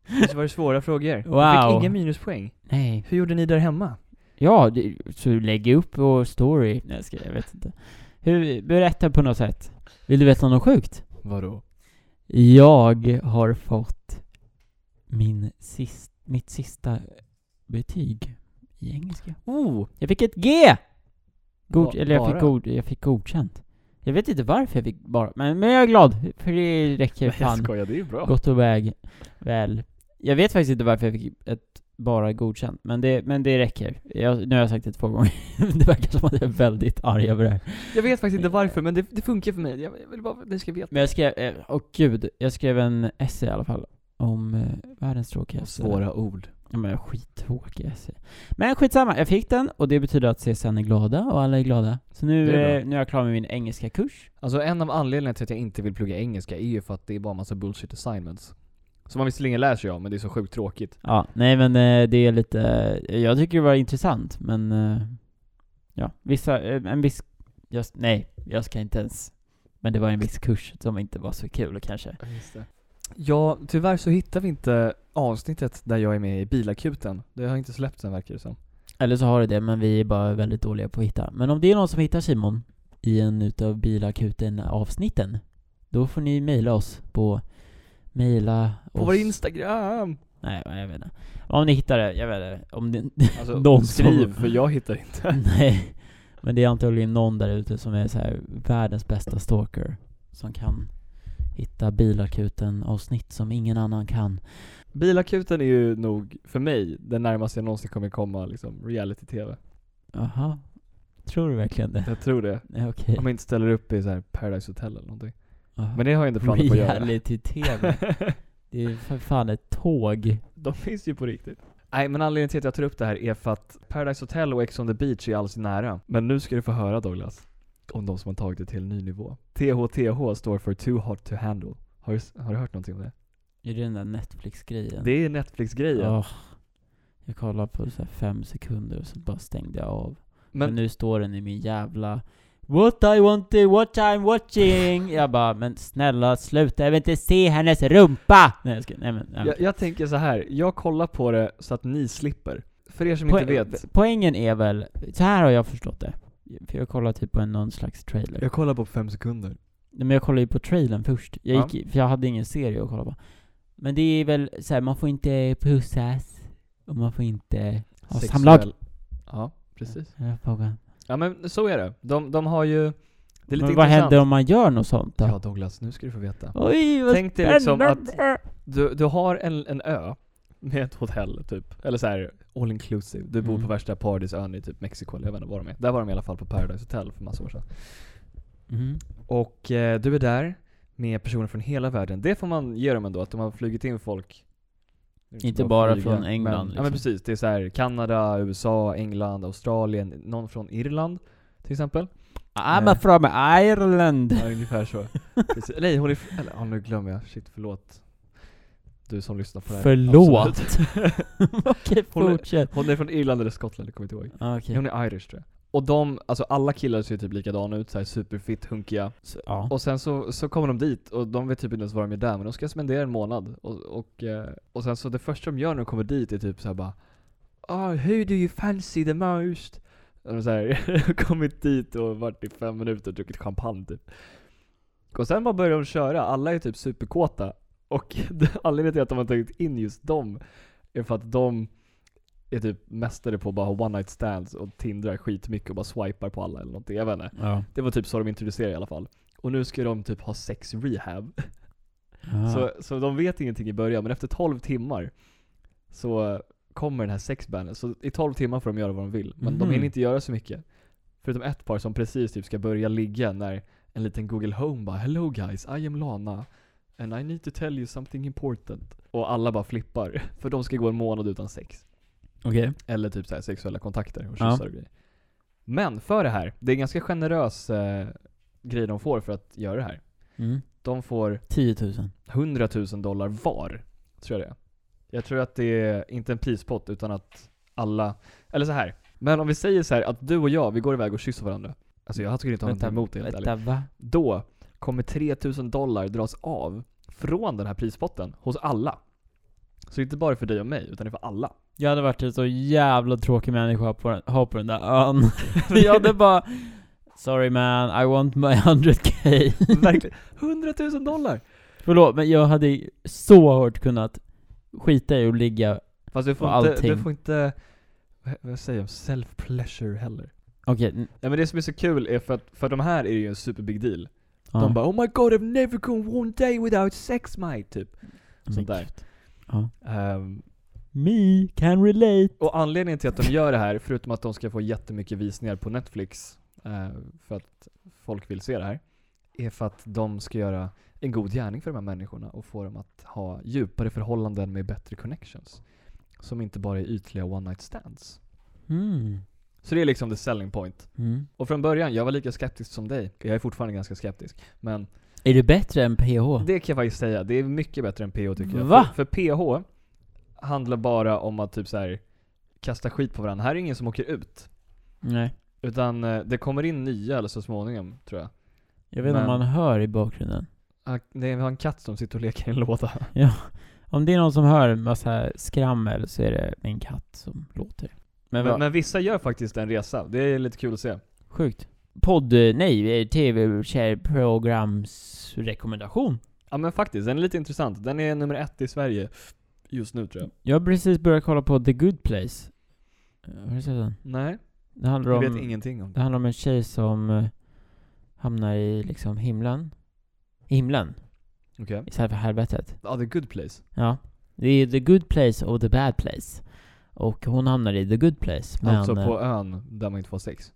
[SPEAKER 2] Visst var det svåra frågor? Du
[SPEAKER 1] Wow.
[SPEAKER 2] fick inga minuspoäng.
[SPEAKER 1] nej.
[SPEAKER 2] Hur gjorde ni där hemma?
[SPEAKER 1] Ja, det, så lägg upp vår story. Nej jag skojar, jag vet inte. Hur, berätta på något sätt. Vill du veta något sjukt?
[SPEAKER 2] Vadå?
[SPEAKER 1] Jag har fått min sist, mitt sista betyg i engelska.
[SPEAKER 2] Oh!
[SPEAKER 1] Jag fick ett G! God,
[SPEAKER 2] Ba-
[SPEAKER 1] eller jag
[SPEAKER 2] bara?
[SPEAKER 1] fick, god, jag fick godkänt. Jag vet inte varför jag fick bara, men, men jag är glad. För det räcker
[SPEAKER 2] Nej, [laughs] jag
[SPEAKER 1] fan
[SPEAKER 2] skojar, det är ju bra.
[SPEAKER 1] gott och väg, väl Jag vet faktiskt inte varför jag fick ett bara godkänt, men det, men det räcker. Jag, nu har jag sagt det två gånger. [laughs] det verkar som att jag är väldigt arg över det här.
[SPEAKER 2] Jag vet faktiskt inte
[SPEAKER 1] Eh,
[SPEAKER 2] varför, men det, det funkar för mig. Jag jag vill bara att ni ska veta.
[SPEAKER 1] Men jag skrev, eh, åh gud, jag skrev en essä i alla fall om eh, världens tråkigaste.
[SPEAKER 2] Svåra ord.
[SPEAKER 1] Ja men skittråkig essä. Men skitsamma, jag fick den och det betyder att CSN är glada och alla är glada. Så nu,
[SPEAKER 2] Det är bra.
[SPEAKER 1] eh, nu är jag klar med min engelska kurs.
[SPEAKER 2] Alltså en av anledningarna till att jag inte vill plugga engelska är ju för att det är bara massa bullshit assignments. Som man visserligen lär sig av, men det är så sjukt tråkigt.
[SPEAKER 1] Ja, nej men eh, det är lite, eh, jag tycker det var intressant men eh, ja, vissa, eh, en viss, just, nej, jag ska inte ens, men det var en viss kurs som inte var så kul kanske.
[SPEAKER 2] Ja, tyvärr så hittar vi inte avsnittet där jag är med i bilakuten. Det har inte släppts än verkar det som.
[SPEAKER 1] Eller så har det det, men vi är bara väldigt dåliga på att hitta. Men om det är någon som hittar Simon i en utav bilakuten avsnitten, då får ni mejla oss på mejla
[SPEAKER 2] På
[SPEAKER 1] oss.
[SPEAKER 2] vår instagram!
[SPEAKER 1] Nej, jag vet inte. Om ni hittar det, jag vet inte. Om det, [laughs]
[SPEAKER 2] Alltså,
[SPEAKER 1] Någon
[SPEAKER 2] skriv
[SPEAKER 1] som-
[SPEAKER 2] för jag hittar inte.
[SPEAKER 1] Nej, men det är antagligen någon där ute som är så här världens bästa stalker som kan hitta bilakuten avsnitt som ingen annan kan.
[SPEAKER 2] [laughs] Bilakuten är ju nog, för mig, den närmaste jag någonsin kommer komma liksom reality-tv.
[SPEAKER 1] Jaha, tror du verkligen det? [laughs]
[SPEAKER 2] Jag tror det.
[SPEAKER 1] Nej, Okej.
[SPEAKER 2] Om jag inte ställer upp i så här Paradise Hotel eller någonting.
[SPEAKER 1] Jaha.
[SPEAKER 2] Men det har jag
[SPEAKER 1] [laughs]
[SPEAKER 2] inte planer på att göra.
[SPEAKER 1] Reality-tv.
[SPEAKER 2] [laughs]
[SPEAKER 1] Det är ju för fan ett tåg.
[SPEAKER 2] De finns ju på riktigt. Nej men anledningen till att jag tar upp det här är för att Paradise Hotel och Ex on the Beach är alldeles nära. Men nu ska du få höra Douglas, om de som har tagit det till en ny nivå. THTH står för Too Hot To Handle. Har du, har du hört någonting om det?
[SPEAKER 1] Är det den där Netflix-grejen?
[SPEAKER 2] Det är Netflix-grejen.
[SPEAKER 1] Åh. Jag kollade på så här fem sekunder och så bara stängde jag av. Men,
[SPEAKER 2] men
[SPEAKER 1] nu står den i min jävla What I want to what I'm watching Jag bara, men snälla sluta, jag vill inte se hennes rumpa! Nej jag ska, nej men, nej,
[SPEAKER 2] jag, jag tänker så här. jag kollar på det så att ni slipper. För er som
[SPEAKER 1] Poäng-
[SPEAKER 2] inte vet.
[SPEAKER 1] Poängen är väl, så här har jag förstått det. För jag kollade typ på en, någon slags trailer.
[SPEAKER 2] Jag kollar på fem sekunder.
[SPEAKER 1] Nej, men jag kollade ju på trailern först. Jag
[SPEAKER 2] Ja.
[SPEAKER 1] gick, i- för jag hade ingen serie att kolla på. Men det är väl så här, man får inte pussas. Och man får inte ha samlag.
[SPEAKER 2] Sexuell- Ja, precis.
[SPEAKER 1] Den här frågan.
[SPEAKER 2] Ja men så är det. De, de har ju... Det är lite
[SPEAKER 1] Men vad
[SPEAKER 2] intressant.
[SPEAKER 1] händer om man gör något sånt då?
[SPEAKER 2] Ja Douglas, nu ska du få veta.
[SPEAKER 1] Oj, vad
[SPEAKER 2] Tänk dig liksom att-
[SPEAKER 1] spännande.
[SPEAKER 2] Du, du har en, en ö med ett hotell typ, eller så här all inclusive. Du bor
[SPEAKER 1] Mm.
[SPEAKER 2] på värsta paradisön i typ Mexiko eller jag vet inte var de är. Där var de i alla fall på Paradise Hotel för massa år sedan. Mm.
[SPEAKER 1] Mhm.
[SPEAKER 2] Och eh, du är där med personer från hela världen. Det får man ge dem ändå, att de har flugit in folk. Det är
[SPEAKER 1] Inte bara från England,
[SPEAKER 2] Men, Ja
[SPEAKER 1] liksom.
[SPEAKER 2] men precis, det är så här Kanada, USA, England, Australien, någon från Irland till exempel.
[SPEAKER 1] I'm
[SPEAKER 2] Eh.
[SPEAKER 1] from Ireland.
[SPEAKER 2] Ja,
[SPEAKER 1] [laughs]
[SPEAKER 2] ungefär så. Precis. Nej, hon är... f- Eller, ja, nu glömmer jag. Shit, förlåt. Du som lyssnar på det här.
[SPEAKER 1] Förlåt.
[SPEAKER 2] Absolut.
[SPEAKER 1] [laughs] Okej,
[SPEAKER 2] Hon är-
[SPEAKER 1] fortsätt.
[SPEAKER 2] Hon är från Irland eller Skottland, jag kommer inte ihåg.
[SPEAKER 1] Ah, Okej.
[SPEAKER 2] Hon är irish tror jag. Och de, alltså alla killar ser typ likadana ut, så här superfit, hunkiga.
[SPEAKER 1] Så- Ja.
[SPEAKER 2] Och sen så, så kommer de dit och de vet typ inte ens vad de är där, men de ska spendera en månad. Och, och, eh, och sen så det första de gör när de kommer dit är typ så här bara Oh, who do you fancy the most? Och de så här, [laughs] kommit dit och varit i fem minuter och druckit champagne typ. Och sen bara börjar de köra, alla är typ superkåta. Och [laughs] anledningen till att de har tagit in just dem är för att de är typ mästare på att bara ha one night stands och tindrar skitmycket och bara swipar på alla eller någonting, jag vet inte.
[SPEAKER 1] Ja.
[SPEAKER 2] Det var typ så de introducerade i alla fall. Och nu ska de typ ha sex rehab.
[SPEAKER 1] Ah.
[SPEAKER 2] Så, så de vet ingenting i början, men efter 12 timmar så kommer den här sexbanden. Så i 12 timmar får de göra vad de vill, men de
[SPEAKER 1] Mhm.
[SPEAKER 2] hinner inte göra så mycket. Förutom ett par som precis typ ska börja ligga när en liten Google Home bara 'Hello guys, I am Lana and I need to tell you something important' Och alla bara flippar, [laughs] för de ska gå en månad utan sex.
[SPEAKER 1] Okej.
[SPEAKER 2] Eller typ så här sexuella kontakter och
[SPEAKER 1] Ja.
[SPEAKER 2] kyssar och grejer. Men för det här, det är en ganska generös eh, grej de får för att göra det här.
[SPEAKER 1] Mm.
[SPEAKER 2] De får
[SPEAKER 1] 10 000.
[SPEAKER 2] 100 000 dollar var, tror jag det är. Jag tror att det är inte en prispott utan att alla, eller så här. Men om vi säger så här att du och jag, vi går iväg och kysser varandra. Alltså jag skulle inte ha någonting emot det helt ärligt.
[SPEAKER 1] vänta, va?
[SPEAKER 2] Då kommer 3 000 dollar dras av från den här prispotten hos alla. Så inte bara för dig och mig, utan det är för
[SPEAKER 1] [laughs]
[SPEAKER 2] alla.
[SPEAKER 1] Jag hade varit en så jävla tråkig människa på den, ha på den där
[SPEAKER 2] [laughs]
[SPEAKER 1] ön. jag hade bara Sorry man, I want my 100k.
[SPEAKER 2] Verkligen. 100 000 dollar!
[SPEAKER 1] Förlåt, men jag hade så hårt kunnat skita i att ligga
[SPEAKER 2] Fast du får,
[SPEAKER 1] Och
[SPEAKER 2] inte,
[SPEAKER 1] allting.
[SPEAKER 2] du får inte, vad- vad säger jag, self-pleasure heller.
[SPEAKER 1] Okej, n-
[SPEAKER 2] Nej men det som är så kul är för att, för de här är det ju en superbig deal.
[SPEAKER 1] ja.
[SPEAKER 2] De bara 'Oh my god I've never gone one day without sex mate' typ.
[SPEAKER 1] Men
[SPEAKER 2] sånt där.
[SPEAKER 1] gud. Ja.
[SPEAKER 2] Ehm,
[SPEAKER 1] Me can relate.
[SPEAKER 2] och anledningen till att de gör det här, förutom att de ska få jättemycket visningar på Netflix, eh, för att folk vill se det här, är för att de ska göra en god gärning för de här människorna och få dem att ha djupare förhållanden med bättre connections. Som inte bara är ytliga one night stands.
[SPEAKER 1] Mm.
[SPEAKER 2] Så det är liksom the selling point.
[SPEAKER 1] Mm.
[SPEAKER 2] Och från början, jag var lika skeptisk som dig. Jag är fortfarande ganska skeptisk. Men
[SPEAKER 1] Är du bättre än PH?
[SPEAKER 2] Det kan jag faktiskt säga, det är mycket bättre än PH tycker jag.
[SPEAKER 1] Va?
[SPEAKER 2] För, för PH handlar bara om att typ så här kasta skit på varandra. Här är ingen som åker ut.
[SPEAKER 1] Nej.
[SPEAKER 2] Utan eh, det kommer in nya eller så småningom tror jag.
[SPEAKER 1] Jag vet inte om
[SPEAKER 2] Men-
[SPEAKER 1] man hör i bakgrunden.
[SPEAKER 2] Ah, Nej, vi har en katt som sitter och leker i en låda.
[SPEAKER 1] Om det är någon som hör en massa skrammel så är det min katt som låter. Men,
[SPEAKER 2] Men,
[SPEAKER 1] vad
[SPEAKER 2] men vissa gör faktiskt en resa, det är lite kul att se.
[SPEAKER 1] sjukt. Podd, eh, nej, tv-programsrekommendation.
[SPEAKER 2] Ja men faktiskt, den är lite intressant. Den är nummer ett i Sverige just nu tror jag.
[SPEAKER 1] Jag har precis börjat kolla på The Good Place. Eh, Har du sett den?
[SPEAKER 2] Nej,
[SPEAKER 1] Det handlar
[SPEAKER 2] jag
[SPEAKER 1] om...
[SPEAKER 2] vet ingenting om
[SPEAKER 1] Det
[SPEAKER 2] det.
[SPEAKER 1] handlar om en tjej som eh, hamnar i liksom himlen. I himlen,
[SPEAKER 2] Okej.
[SPEAKER 1] istället för helvetet.
[SPEAKER 2] Ja, the good place.
[SPEAKER 1] Ja. Det är the good place och the bad place. Och hon hamnar i the good place. Men, eh,
[SPEAKER 2] alltså på ön där man inte får sex.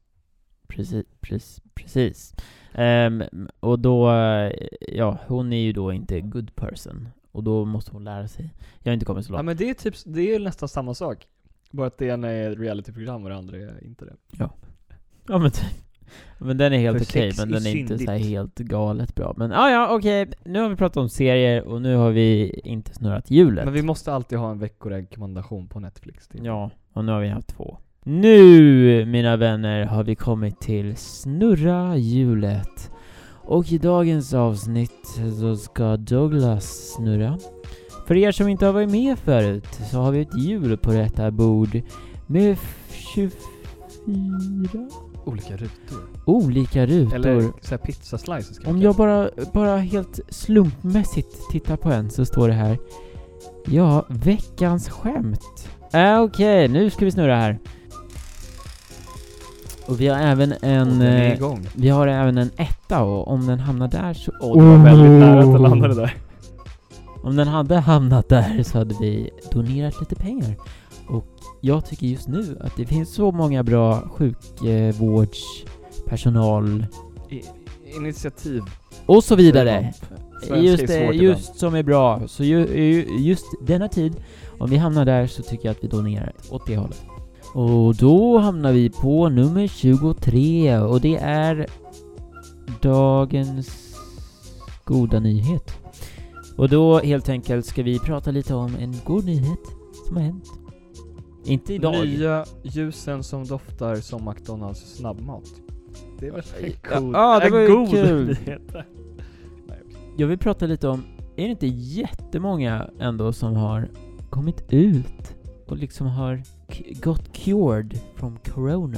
[SPEAKER 1] Precis. precis, precis. Ehm, och då, eh, ja, hon är ju då inte good person. Och då måste hon lära sig. Jag har inte kommit så
[SPEAKER 2] Ja
[SPEAKER 1] långt.
[SPEAKER 2] men det är typ, det är nästan samma sak. Bara att det ena är ett realityprogram och det andra är inte det.
[SPEAKER 1] Ja men typ. Men den är helt
[SPEAKER 2] För
[SPEAKER 1] okej,
[SPEAKER 2] sex
[SPEAKER 1] men
[SPEAKER 2] är
[SPEAKER 1] den är inte så här
[SPEAKER 2] syndigt.
[SPEAKER 1] helt galet bra. Men ah, ja, okej, nu har vi pratat om serier och nu har vi inte snurrat hjulet.
[SPEAKER 2] Men vi måste alltid ha en veckorekommendation på Netflix. Typ.
[SPEAKER 1] Ja, och nu har vi haft två. Nu, mina vänner, har vi kommit till snurra hjulet. Och i dagens avsnitt så ska Douglas snurra. För er som inte har varit med förut så har vi ett hjul på detta bord med f- 24
[SPEAKER 2] Olika rutor.
[SPEAKER 1] olika rutor.
[SPEAKER 2] Eller såhär pizza slices kanske.
[SPEAKER 1] Om jag bara, bara helt slumpmässigt tittar på en så står det här Ja, veckans skämt. Äh, Okej, nu ska vi snurra här. Och vi har även
[SPEAKER 2] Och
[SPEAKER 1] en...
[SPEAKER 2] den är
[SPEAKER 1] Eh,
[SPEAKER 2] igång.
[SPEAKER 1] vi har även en etta och om den hamnar där så...
[SPEAKER 2] Åh, det var väldigt nära att den landade där.
[SPEAKER 1] Om den hade hamnat där så hade vi donerat lite pengar. Och jag tycker just nu att det finns så många bra eh, sjukvårdspersonal
[SPEAKER 2] I, initiativ.
[SPEAKER 1] och så vidare.
[SPEAKER 2] Svenska
[SPEAKER 1] Just,
[SPEAKER 2] är
[SPEAKER 1] det,
[SPEAKER 2] svårt ibland.
[SPEAKER 1] just som är bra. Så ju, ju, just denna tid, om vi hamnar där så tycker jag att vi donerar åt det hållet. Och då hamnar vi på nummer 23 och det är dagens goda nyhet. Och då helt enkelt ska vi prata lite om en god nyhet som har hänt. Inte idag.
[SPEAKER 2] Nya ljusen som doftar som McDonalds snabbmat. Det är väl en
[SPEAKER 1] Ja,
[SPEAKER 2] god,
[SPEAKER 1] ja, det
[SPEAKER 2] en
[SPEAKER 1] var ju
[SPEAKER 2] god
[SPEAKER 1] kul.
[SPEAKER 2] nyhet.
[SPEAKER 1] Jag vill prata lite om, är det inte jättemånga ändå som har kommit ut och liksom har k- gått cured från corona?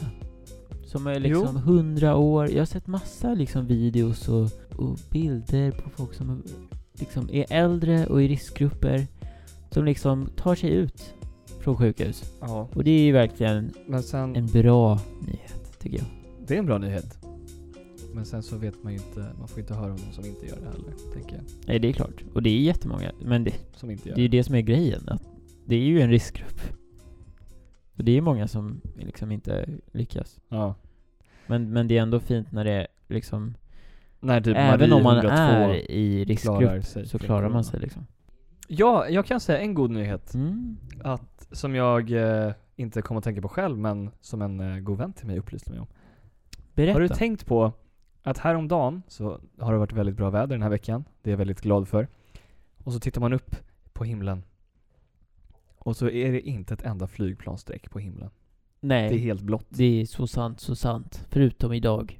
[SPEAKER 1] Som är liksom hundra år. Jag har sett massa liksom videos och, och bilder på folk som liksom är äldre och i riskgrupper som liksom tar sig ut från sjukhus.
[SPEAKER 2] Ja,
[SPEAKER 1] Och det är ju verkligen
[SPEAKER 2] men sen...
[SPEAKER 1] en bra nyhet, tycker jag.
[SPEAKER 2] Det är en bra nyhet. Men sen så vet man ju inte, man får inte höra om någon som inte gör det heller, tänker jag.
[SPEAKER 1] Nej, det är klart. Och det är jättemånga. Men det,
[SPEAKER 2] Som inte gör
[SPEAKER 1] Det är ju det som är grejen. Att det är ju en riskgrupp. Och det är ju många som liksom inte lyckas.
[SPEAKER 2] Ja.
[SPEAKER 1] Men, men det är ändå fint när det är liksom...
[SPEAKER 2] När typ
[SPEAKER 1] även
[SPEAKER 2] Marie
[SPEAKER 1] om man
[SPEAKER 2] 102
[SPEAKER 1] är i
[SPEAKER 2] klarar
[SPEAKER 1] riskgrupp
[SPEAKER 2] sig
[SPEAKER 1] så
[SPEAKER 2] från
[SPEAKER 1] klarar
[SPEAKER 2] corona.
[SPEAKER 1] man sig liksom.
[SPEAKER 2] Ja, jag kan säga en god nyhet.
[SPEAKER 1] Mm.
[SPEAKER 2] Att, som jag eh, inte kommer att tänka på själv, men som en eh, god vän till mig upplyste mig om.
[SPEAKER 1] Berätta.
[SPEAKER 2] Har du tänkt på att häromdagen så har det varit väldigt bra väder den här veckan. Det är jag väldigt glad för. Och så tittar man upp på himlen. Och så är det inte ett enda flygplansstreck på himlen. Det är
[SPEAKER 1] Nej,
[SPEAKER 2] helt blått.
[SPEAKER 1] det är så sant, så sant. Förutom idag.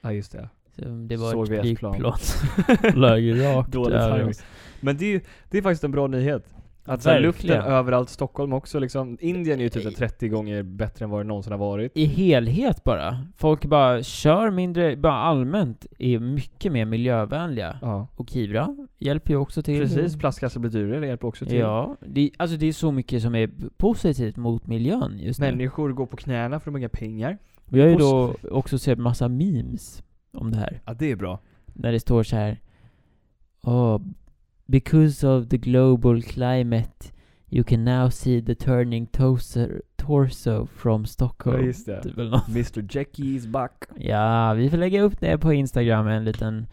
[SPEAKER 2] Ja, just det.
[SPEAKER 1] Så um, Det var
[SPEAKER 2] Såg vi
[SPEAKER 1] ett
[SPEAKER 2] ett
[SPEAKER 1] [laughs]
[SPEAKER 2] plan.
[SPEAKER 1] flygplan som
[SPEAKER 2] [laughs]
[SPEAKER 1] flög rakt
[SPEAKER 2] Dålig
[SPEAKER 1] över
[SPEAKER 2] timing.
[SPEAKER 1] oss.
[SPEAKER 2] Men det är, ju, det är faktiskt en bra nyhet. Att så här, luften
[SPEAKER 1] Verkligen.
[SPEAKER 2] överallt, Stockholm också liksom. Indien är ju typ så här 30 gånger bättre än vad det någonsin har varit.
[SPEAKER 1] I helhet bara. Folk bara kör mindre, bara allmänt är mycket mer miljövänliga.
[SPEAKER 2] Ja.
[SPEAKER 1] Och Kivra hjälper ju också till.
[SPEAKER 2] Precis, plastkassar blir dyrare, det hjälper också till.
[SPEAKER 1] Ja, det, alltså det är så mycket som är positivt mot miljön just nu.
[SPEAKER 2] Människor går på knäna för de har inga pengar.
[SPEAKER 1] Vi har ju då också sett massa memes om det här.
[SPEAKER 2] Ja, det är bra.
[SPEAKER 1] När det står så här. Oh, because of the global climate You can now see the turning torso, torso from
[SPEAKER 2] Ja,
[SPEAKER 1] Stockholm.
[SPEAKER 2] just det.
[SPEAKER 1] Typ eller något.
[SPEAKER 2] Mr Jackie is back.
[SPEAKER 1] Ja, vi får lägga upp det på Instagram, en liten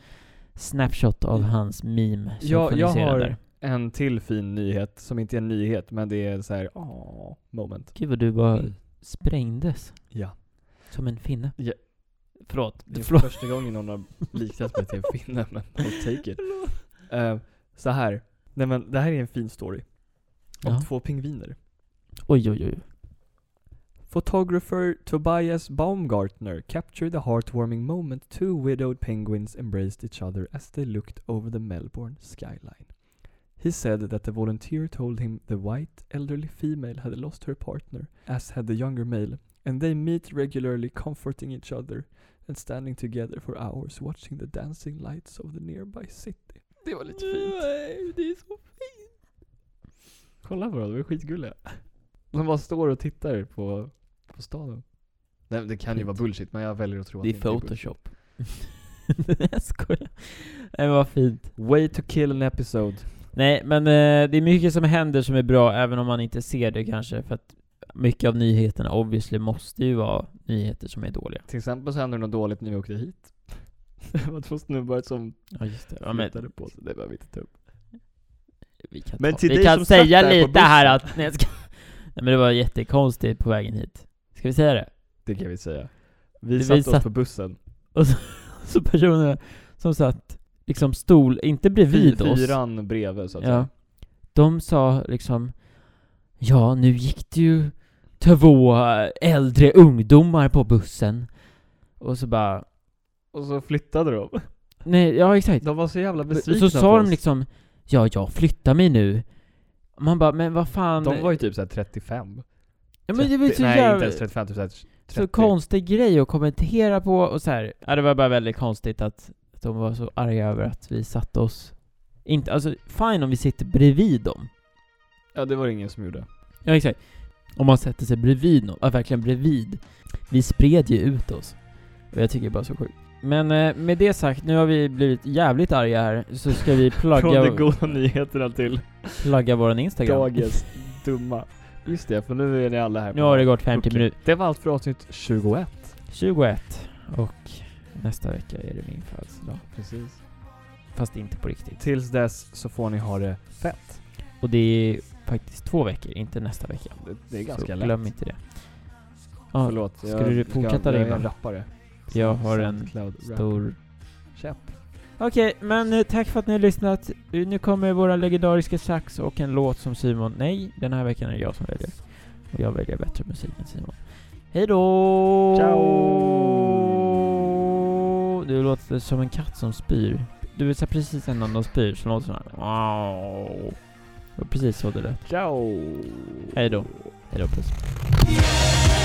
[SPEAKER 1] snapshot av hans meme. som
[SPEAKER 2] Ja,
[SPEAKER 1] får ni
[SPEAKER 2] jag
[SPEAKER 1] se det
[SPEAKER 2] har-
[SPEAKER 1] Där.
[SPEAKER 2] En till fin nyhet, som inte är en nyhet, men det är så här, åh, moment.
[SPEAKER 1] Gud vad du bara sprängdes.
[SPEAKER 2] Ja.
[SPEAKER 1] Som en finne.
[SPEAKER 2] Ja.
[SPEAKER 1] Förlåt.
[SPEAKER 2] Det är
[SPEAKER 1] Förlåt.
[SPEAKER 2] första gången någon har liknat mig till en finne, men I'll take it. Eh, så här. Nej men det här är en fin story. Om
[SPEAKER 1] Ja.
[SPEAKER 2] två pingviner.
[SPEAKER 1] Oj, oj, oj.
[SPEAKER 2] Photographer Tobias Baumgartner captured the heartwarming moment two widowed penguins embraced each other as they looked over the Melbourne skyline. He said that the volunteer told him the white elderly female had lost her partner, as had the younger male, and they meet regularly comforting each other and standing together for hours watching the dancing lights of the nearby city. Det var lite fint.
[SPEAKER 1] Nej, det är så fint.
[SPEAKER 2] Kolla på dem, de är skitgulliga. De bara står och tittar på, på staden. Nej, det kan ju
[SPEAKER 1] Fint.
[SPEAKER 2] vara bullshit, men jag väljer att tro att
[SPEAKER 1] Det är
[SPEAKER 2] inte bullshit.
[SPEAKER 1] photoshop. Nej, [laughs] jag skojar. Nej, men vad fint.
[SPEAKER 2] Way to kill an episode.
[SPEAKER 1] Nej, men eh, det är mycket som händer som är bra, även om man inte ser det kanske, för att mycket av nyheterna obviously måste ju vara nyheter som är dåliga.
[SPEAKER 2] Till exempel så hände det något dåligt när vi åkte hit. [laughs] det var två snubbar som
[SPEAKER 1] Ja, just det. Ja, men,
[SPEAKER 2] flyttade på sig, det behöver vi inte ta upp.
[SPEAKER 1] vi kan,
[SPEAKER 2] Men
[SPEAKER 1] ta,
[SPEAKER 2] till
[SPEAKER 1] vi
[SPEAKER 2] dig
[SPEAKER 1] kan
[SPEAKER 2] som satt
[SPEAKER 1] säga
[SPEAKER 2] där på
[SPEAKER 1] lite här
[SPEAKER 2] bussen.
[SPEAKER 1] att... Nej, jag ska, nej, men det var jättekonstigt på vägen hit. Ska vi säga det?
[SPEAKER 2] Det kan vi säga. Vi
[SPEAKER 1] Vi
[SPEAKER 2] satte
[SPEAKER 1] satt-
[SPEAKER 2] oss på bussen.
[SPEAKER 1] [laughs] Så personerna som satt liksom stol, inte bredvid oss.
[SPEAKER 2] Fyran bredvid så att
[SPEAKER 1] Ja.
[SPEAKER 2] säga.
[SPEAKER 1] De sa liksom Ja, nu gick det ju två äldre ungdomar på bussen. Och så bara
[SPEAKER 2] Och så flyttade de.
[SPEAKER 1] Nej, ja exakt.
[SPEAKER 2] [laughs] De var så jävla
[SPEAKER 1] Och
[SPEAKER 2] besvikna
[SPEAKER 1] så
[SPEAKER 2] på
[SPEAKER 1] sa de
[SPEAKER 2] oss.
[SPEAKER 1] liksom Ja, jag flyttar mig nu. Och Man bara, men vad fan.
[SPEAKER 2] De var ju typ såhär 35.
[SPEAKER 1] ja, men det var ju
[SPEAKER 2] 30
[SPEAKER 1] så
[SPEAKER 2] Nej inte
[SPEAKER 1] jävla...
[SPEAKER 2] ens 35, typ såhär 30.
[SPEAKER 1] Så konstig grej att kommentera på och så här. Ja, det var bara väldigt konstigt att, att de var så arga över att vi satte oss... Inte, alltså fine om vi sitter bredvid dem.
[SPEAKER 2] Ja det var det ingen som gjorde.
[SPEAKER 1] Ja, exakt. Om man sätter sig bredvid någon, ja, verkligen bredvid. Vi spred ju ut oss. Och jag tycker det är bara så sjukt. Men eh, med det sagt, nu har vi blivit jävligt arga här, så ska
[SPEAKER 2] [laughs]
[SPEAKER 1] vi
[SPEAKER 2] Från de
[SPEAKER 1] plugga,
[SPEAKER 2] goda nyheterna till
[SPEAKER 1] plugga våran Instagram.
[SPEAKER 2] dagens dumma. Just det, för nu är ni alla
[SPEAKER 1] [laughs]
[SPEAKER 2] här.
[SPEAKER 1] Nu har det gått 50
[SPEAKER 2] Okej.
[SPEAKER 1] minuter.
[SPEAKER 2] Det var allt för avsnitt 21.
[SPEAKER 1] 21. Och nästa vecka är det min födelsedag.
[SPEAKER 2] Precis.
[SPEAKER 1] Fast inte på riktigt.
[SPEAKER 2] Tills dess så får ni ha det fett.
[SPEAKER 1] Och det är faktiskt två veckor, inte nästa vecka.
[SPEAKER 2] Det, det är
[SPEAKER 1] så
[SPEAKER 2] ganska lätt.
[SPEAKER 1] glöm inte det. Ja,
[SPEAKER 2] Förlåt.
[SPEAKER 1] Ska du fortsätta
[SPEAKER 2] jag, jag är
[SPEAKER 1] rimma?
[SPEAKER 2] en rappare.
[SPEAKER 1] Jag har en
[SPEAKER 2] Soundcloud-rap.
[SPEAKER 1] stor...
[SPEAKER 2] käpp.
[SPEAKER 1] Okej, men eh, tack för att ni har lyssnat. Eh, Nu kommer våra legendariska sax och en låt som Simon... Nej, den här veckan är det jag som väljer. Och jag väljer bättre musik än Simon. Hej då!
[SPEAKER 2] Ciao!
[SPEAKER 1] Du låter som en katt som spyr. Du vet så här precis innan de spyr så låter det så här. Wow. Det var precis så det lät.
[SPEAKER 2] Ciao!
[SPEAKER 1] Hej då. Hej då, puss.
[SPEAKER 3] Yeah!